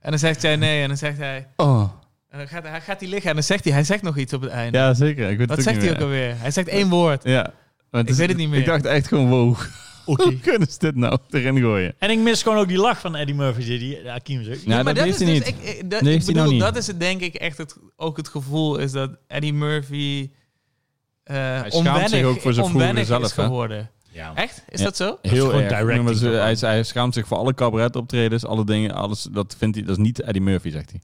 S3: En dan zegt zij nee. En dan zegt hij...
S2: Oh,
S3: En dan gaat, hij gaat die liggen en dan zegt hij, hij zegt nog iets op het einde.
S2: Ja, zeker. Ik weet
S3: Wat
S2: het
S3: zegt hij ook
S2: niet meer.
S3: alweer? Hij zegt één woord.
S2: Ja. Maar
S3: Ik weet het niet meer.
S2: Ik dacht echt gewoon, wow, hoe kunnen ze dit nou erin gooien?
S1: En ik mis gewoon ook die lach van Eddie Murphy. Die, die Hakim zo.
S2: Nou, dat
S3: is
S2: heeft hij
S3: dus-
S2: niet.
S3: ik- ik- dat,
S2: Dat
S3: ik
S2: heeft hij nou
S3: bedoel,
S2: niet.
S3: dat is het denk ik echt het, ook het gevoel is dat Eddie Murphy eh
S2: zich
S3: onwennig,
S2: ook voor zijn vroegere
S3: onwennig is
S2: zelf, hè?
S3: geworden.
S1: Ja.
S3: Echt? Is
S2: Ja.
S3: dat zo?
S2: Heel
S1: gewoon
S2: erg.
S1: directing
S2: Maar ze-
S1: gewoon.
S2: hij, is- hij schaamt zich voor alle cabaretoptredens, alle dingen, alles. Dat vindt hij, dat is niet Eddie Murphy, zegt hij.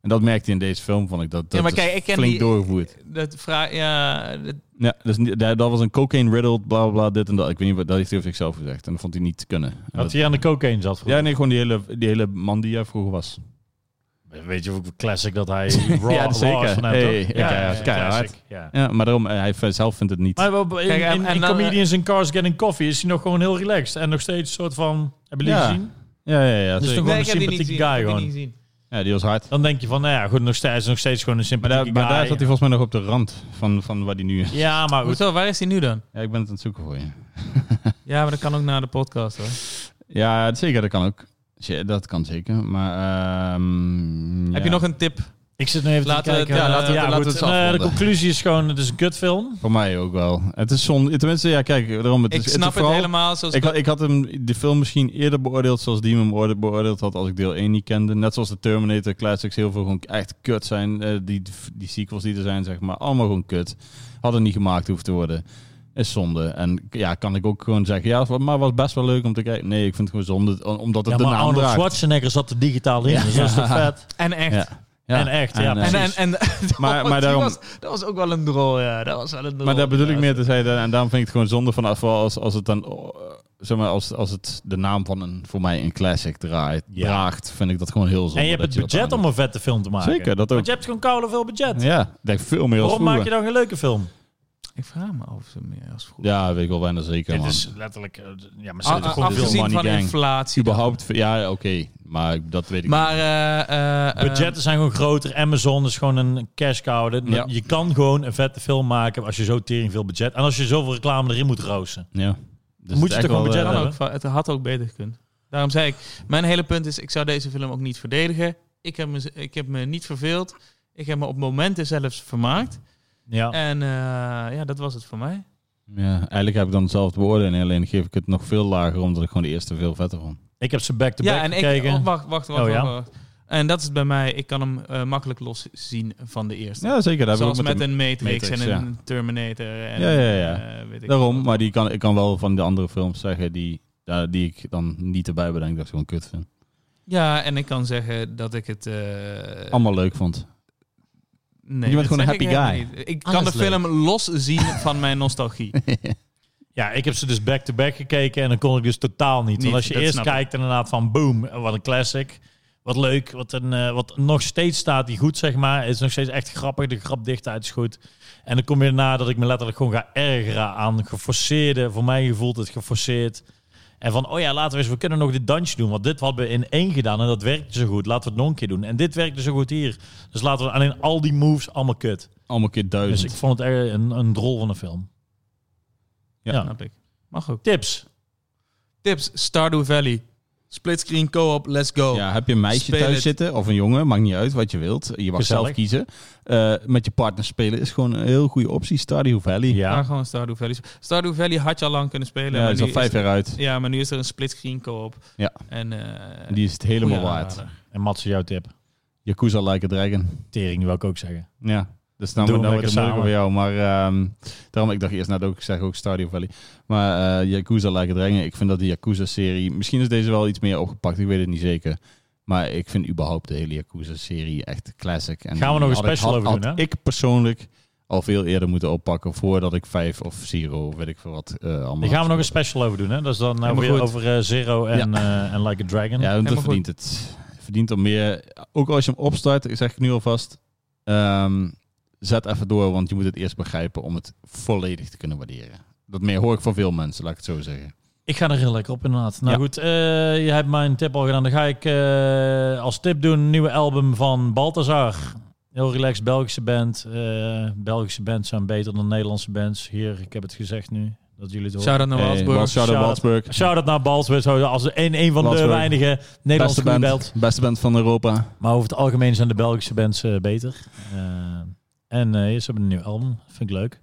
S2: En dat merkte hij in deze film, vond ik. Dat, dat
S3: Ja, maar
S2: is
S3: kijk, ik ken
S2: flink
S3: die-
S2: doorgevoerd.
S3: Dat vraag, ja, dat-
S2: Ja, dus niet, dat, dat was een cocaine riddled, bla bla, bla, dit en dat. Ik weet niet wat, dat heeft hij over zichzelf gezegd. En dat vond hij niet te kunnen. En
S1: Dat
S2: dat-
S1: hij aan de cocaïne zat.
S2: ja,
S1: vroeger.
S2: nee, gewoon die hele, die hele man die jij vroeger was.
S1: Weet je hoe classic dat hij raw,
S2: Ja,
S1: raw is
S2: zeker.
S1: van hem, toch?
S2: Hey, keihard, keihard.
S1: classic, Ja.
S2: Ja, maar daarom, eh, hij v- zelf vindt het niet.
S1: Maar wel- in,
S3: Kijk, en-
S1: in- in
S3: en dan, eh,
S1: Comedians in Cars Getting Coffee is hij nog gewoon heel relaxed. En nog steeds een soort van... Hebben jullie
S2: Ja.
S1: gezien?
S2: Ja, ja, ja.
S1: Dus
S2: zeker.
S1: toch- Gewoon
S3: nee, ik
S1: een
S3: heb die niet
S1: sympathieke guy
S3: gezien. ik heb die
S1: gewoon.
S3: niet gezien.
S2: Ja, die was hard.
S1: Dan denk je van, nou ja, goed, nog steeds, hij is nog steeds gewoon een
S2: Maar daar,
S1: sympathieke
S2: maar daar
S1: guy.
S2: zat hij volgens mij nog op de rand van, van waar hij nu is.
S1: Ja, maar goed.
S3: Hoezo, waar is hij nu dan?
S2: Ja, ik ben het aan het zoeken voor je.
S3: Ja, maar dat kan ook na de podcast hoor.
S2: Ja, zeker, dat kan ook. Shit, Dat kan zeker, maar... ehm,
S3: Heb
S2: ja.
S3: je nog een tip?
S1: Ik zit nu even
S3: Laten
S1: te
S3: we
S1: kijken.
S3: het- ja,
S1: eh,
S2: laten we- laten we
S1: goed.
S2: het
S1: En, eh, de
S2: afronden.
S1: conclusie is gewoon, het is een kutfilm.
S2: Voor mij ook wel. Het is zon... Tenminste, ja, kijk, daarom... Het
S3: Ik
S2: is,
S3: snap het,
S2: is vooral-
S3: helemaal zoals
S2: Ik had, ik had hem, de film misschien eerder beoordeeld zoals die hem beoorde- beoordeeld had als ik deel 1 niet kende. Net zoals de Terminator classics heel veel gewoon echt kut zijn. Eh, die, die sequels die er zijn, zeg maar, allemaal gewoon kut. Hadden niet gemaakt hoeven te worden. Is zonde. En ja, kan ik ook gewoon zeggen, ja, maar was best wel leuk om te kijken. Nee, ik vind het gewoon zonde, om- omdat het
S1: Ja,
S2: de
S1: maar
S2: naam
S1: Arnold
S2: draagt.
S1: Schwarzenegger zat er digitaal in. Dus dat is toch vet?
S3: En echt.
S2: Ja. Ja.
S1: En echt, ja,
S2: eh,
S1: precies.
S3: En, en, en,
S2: Maar-
S3: die
S2: maar daarom-
S3: was, dat was ook wel een drol, ja. Dat was wel een drol.
S2: Maar daar bedoel ik
S3: inderdaad.
S2: meer te zeggen, en daarom vind ik het gewoon zonde vanaf als, als het dan, oh, eh, zeg maar, als, als het de naam van een, voor mij een classic draait,
S1: Ja.
S2: draagt, vind ik dat gewoon heel zonde.
S1: En je hebt
S2: dat
S1: het
S2: dat
S1: budget
S2: aan
S1: om een vette film te maken.
S2: Zeker, dat ook.
S1: Want je hebt gewoon koude veel budget.
S2: doet. Ja, ik denk veel meer als
S1: Waarom maak je
S2: vroeger.
S1: dan geen leuke film?
S3: Ik vraag me af of ze meer als vroeger.
S2: Ja, weet ik wel bijna zeker,
S1: Dit
S2: man.
S1: is letterlijk... eh, Ja,
S2: Ah,
S1: maar ze
S3: A-
S1: zitten
S3: a-
S1: gewoon
S2: dit is
S1: veel
S3: afgezien
S2: Money
S3: van
S2: Gang.
S3: inflatie. dan.
S2: Überhaupt, ja, oké, maar ik- dat weet ik
S3: Maar eh, eh, eh,
S1: Budgetten zijn gewoon groter. Amazon is gewoon een cash cow. Dat-
S2: Ja.
S1: Je kan gewoon een vette film maken als je zo tering veel budget... En als je zoveel reclame erin moet roosten.
S2: niet. Ja.
S1: Moet je
S2: Dus het is
S1: toch
S2: echt
S1: gewoon
S2: wel,
S1: budget
S2: eh,
S3: kan ook, va- het had ook beter gekund. Daarom zei ik, mijn hele punt is, ik zou deze film ook niet verdedigen. Ik heb me, z- ik heb me niet verveeld. Ik heb me op momenten zelfs vermaakt.
S1: Ja.
S3: En eh, ja, dat was het voor mij.
S2: Ja, eigenlijk heb ik dan hetzelfde beoordeling, alleen geef ik het nog veel lager, omdat ik gewoon de eerste veel vetter vond.
S1: Ik heb ze back-to-back
S3: Ja, en ik...
S1: gekeken.
S3: oh, wacht, wacht, wacht,
S1: Oh, ja.
S3: wacht, wacht. En dat is bij mij, ik kan hem eh, makkelijk loszien van de eerste.
S2: Ja, zeker. Daar heb ik
S3: Zoals
S2: ook
S3: met
S2: met
S3: een Matrix,
S2: Matrix,
S3: en een Terminator. En,
S2: Ja, ja, ja.
S3: eh, weet ik
S2: Daarom,
S3: wat.
S2: maar die kan, ik kan wel van de andere films zeggen die, ja, die ik dan niet erbij bedenk dat ik ze gewoon kut vind.
S3: Ja, en ik kan zeggen dat ik het... eh,
S2: Allemaal leuk vond.
S3: nee,
S2: je bent
S3: dat
S2: gewoon een
S3: zeg ik
S2: happy
S3: helemaal
S2: guy.
S3: niet. Ik kan
S1: Alles
S3: de film loszien van mijn nostalgie.
S1: Ja, ik heb ze dus back-to-back gekeken en dan kon ik dus totaal niet.
S3: Niet,
S1: Want als je
S3: dat
S1: eerst
S3: snap ik.
S1: kijkt inderdaad van boom, wat een classic. Wat leuk, wat, een, eh, wat nog steeds staat die goed, zeg maar. Is nog steeds echt grappig, de grapdichtheid is goed. En dan kom je erna dat ik me letterlijk gewoon ga ergeren aan geforceerde, voor mij voelt het geforceerd. En van, oh ja, laten we eens, we kunnen nog dit dansje doen. Want dit hadden we in één gedaan en dat werkte zo goed. Laten we het nog een keer doen. En dit werkte zo goed hier. Dus laten we alleen al die moves allemaal kut.
S2: Allemaal keer
S1: Dus
S2: duizend.
S1: ik vond het echt een, een drol van een film.
S2: Ja.
S1: ja.
S3: Snap ik. Mag ook.
S1: Tips.
S3: Tips, Stardew Valley. Splitscreen co-op, let's go.
S2: Ja, heb je een meisje
S3: Speel
S2: thuis
S3: het.
S2: zitten of een jongen, maakt niet uit wat je wilt. Je mag
S1: Gezellig.
S2: zelf kiezen. Eh, met je partner spelen is gewoon een heel goede optie. Stardew Valley.
S1: Ja.
S3: Ga gewoon Stardew Valley. sp- Stardew Valley had je al lang kunnen spelen.
S2: Ja,
S3: maar
S2: is al
S3: nu
S2: vijf
S3: is,
S2: jaar uit.
S3: Ja, maar nu is er een splitscreen co-op.
S2: Ja.
S3: En, eh,
S2: En die is het helemaal
S3: goeie
S2: waard.
S3: aanrader.
S1: En Matze, jouw tip.
S2: Yakuza Like a Dragon.
S1: Tering wil ik ook zeggen.
S2: Ja, dat is nou
S1: Doen we
S2: nou wordt het
S1: lekker
S2: moeilijker voor jou. Maar ehm, daarom, ik dacht eerst net ook, ik zeg ook Stardew Valley. Maar eh Yakuza Like a Dragon, ik vind dat die Yakuza-serie... Misschien is deze wel iets meer opgepakt, ik weet het niet zeker. Maar ik vind überhaupt de hele Yakuza-serie echt classic. En
S1: Gaan we nog een
S2: had ik-
S1: special
S2: had-
S1: over doen,
S2: had
S1: hè?
S2: ik persoonlijk al veel eerder moeten oppakken voordat ik 5 of Zero, weet ik veel wat, eh allemaal...
S1: Daar gaan we nog een
S2: had.
S1: special over doen, hè? Dat is dan nou
S3: Helemaal
S1: weer
S3: goed.
S1: over eh, Zero en, eh, en Like a Dragon.
S2: Ja, want
S3: Helemaal
S2: dat
S3: goed.
S2: verdient het. Verdient om meer... Ook als je hem opstart, ik zeg ik nu alvast... ehm, zet even door, want je moet het eerst begrijpen om het volledig te kunnen waarderen. Dat meer hoor ik van veel mensen, laat ik het zo zeggen.
S1: Ik ga er heel lekker op, inderdaad. Nou
S2: Ja.
S1: goed, eh, je hebt mijn tip al gedaan. Dan ga ik eh, als tip doen een nieuwe album van Balthazar. Heel relaxed Belgische band. Eh, Belgische bands zijn beter dan Nederlandse bands. Hier, ik heb het gezegd nu. dat jullie het horen.
S3: Shout-out naar
S2: Hey,
S3: Nou, Walsburg.
S2: Wal- shout-out
S1: Shout-out.
S2: Walsburg.
S1: Shout-out naar Balswit, zo als een, een van de
S2: Balswit.
S1: weinige Nederlandse
S2: Beste
S1: goede
S2: band,
S1: bands.
S2: beste band van Europa.
S1: Maar over het algemeen zijn de Belgische bands eh, beter. Eh, en eh, ze hebben een nieuw album, vind ik leuk.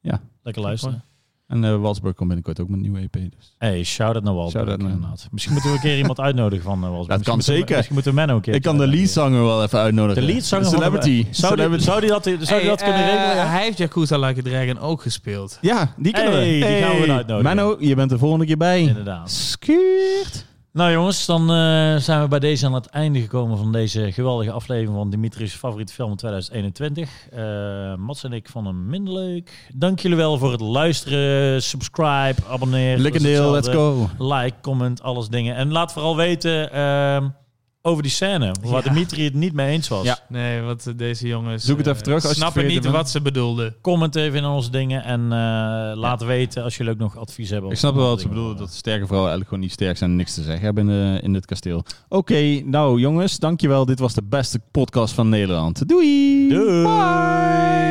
S2: Ja.
S1: Lekker luisteren.
S2: En eh Walsburg komt binnenkort ook met een nieuwe EP. Dus.
S1: Hey, shout-out naar Walsburg.
S2: Shout-out naar-
S1: inderdaad. Misschien moeten we een keer iemand uitnodigen van eh, Walsburg. Misschien
S2: Dat kan
S1: moeten we-
S2: zeker.
S1: Misschien moeten we Menno een keer.
S2: Ik kan de leadzanger wel even
S1: De
S2: uitnodigen.
S1: leadzanger van de-
S2: Celebrity.
S1: Zou die,
S2: Celebrity.
S1: zou die dat, zou die
S3: Hey,
S1: dat kunnen
S3: eh,
S1: regelen? ja?
S3: Hij heeft Yakuza Like a Dragon ook gespeeld.
S2: Ja, die kunnen
S1: Hey,
S2: we.
S1: die gaan we uitnodigen.
S2: Menno, je bent de volgende keer bij.
S1: Inderdaad.
S2: Skuurt.
S1: Nou jongens, dan eh, zijn we bij deze aan het einde gekomen van deze geweldige aflevering van Dimitri's favoriete film 2021. Eh Mats en ik vonden hem minder leuk. Dank jullie wel voor het luisteren, subscribe, abonneer.
S2: Lickendeel, let's go.
S1: Like, comment, alles dingen. En laat vooral weten ehm, over die scène, waar
S3: Ja.
S1: Dimitri het niet mee eens was.
S2: Ja.
S3: Nee, wat eh, deze jongens...
S2: Zoek het
S3: eh,
S2: even terug als je het
S3: snappen niet
S2: vergeten bent.
S3: wat ze bedoelden.
S1: Comment even in onze dingen en eh, laat weten als jullie ook nog advies hebben.
S2: Ik snap wel wat ze
S1: Dingen.
S2: bedoelen, dat eh. sterke vrouwen eigenlijk gewoon niet sterk zijn en niks te zeggen hebben in, eh, in dit kasteel. Oké, nou jongens, dankjewel. Dit was de beste podcast van Nederland. Doei!
S1: Doei!
S2: Bye!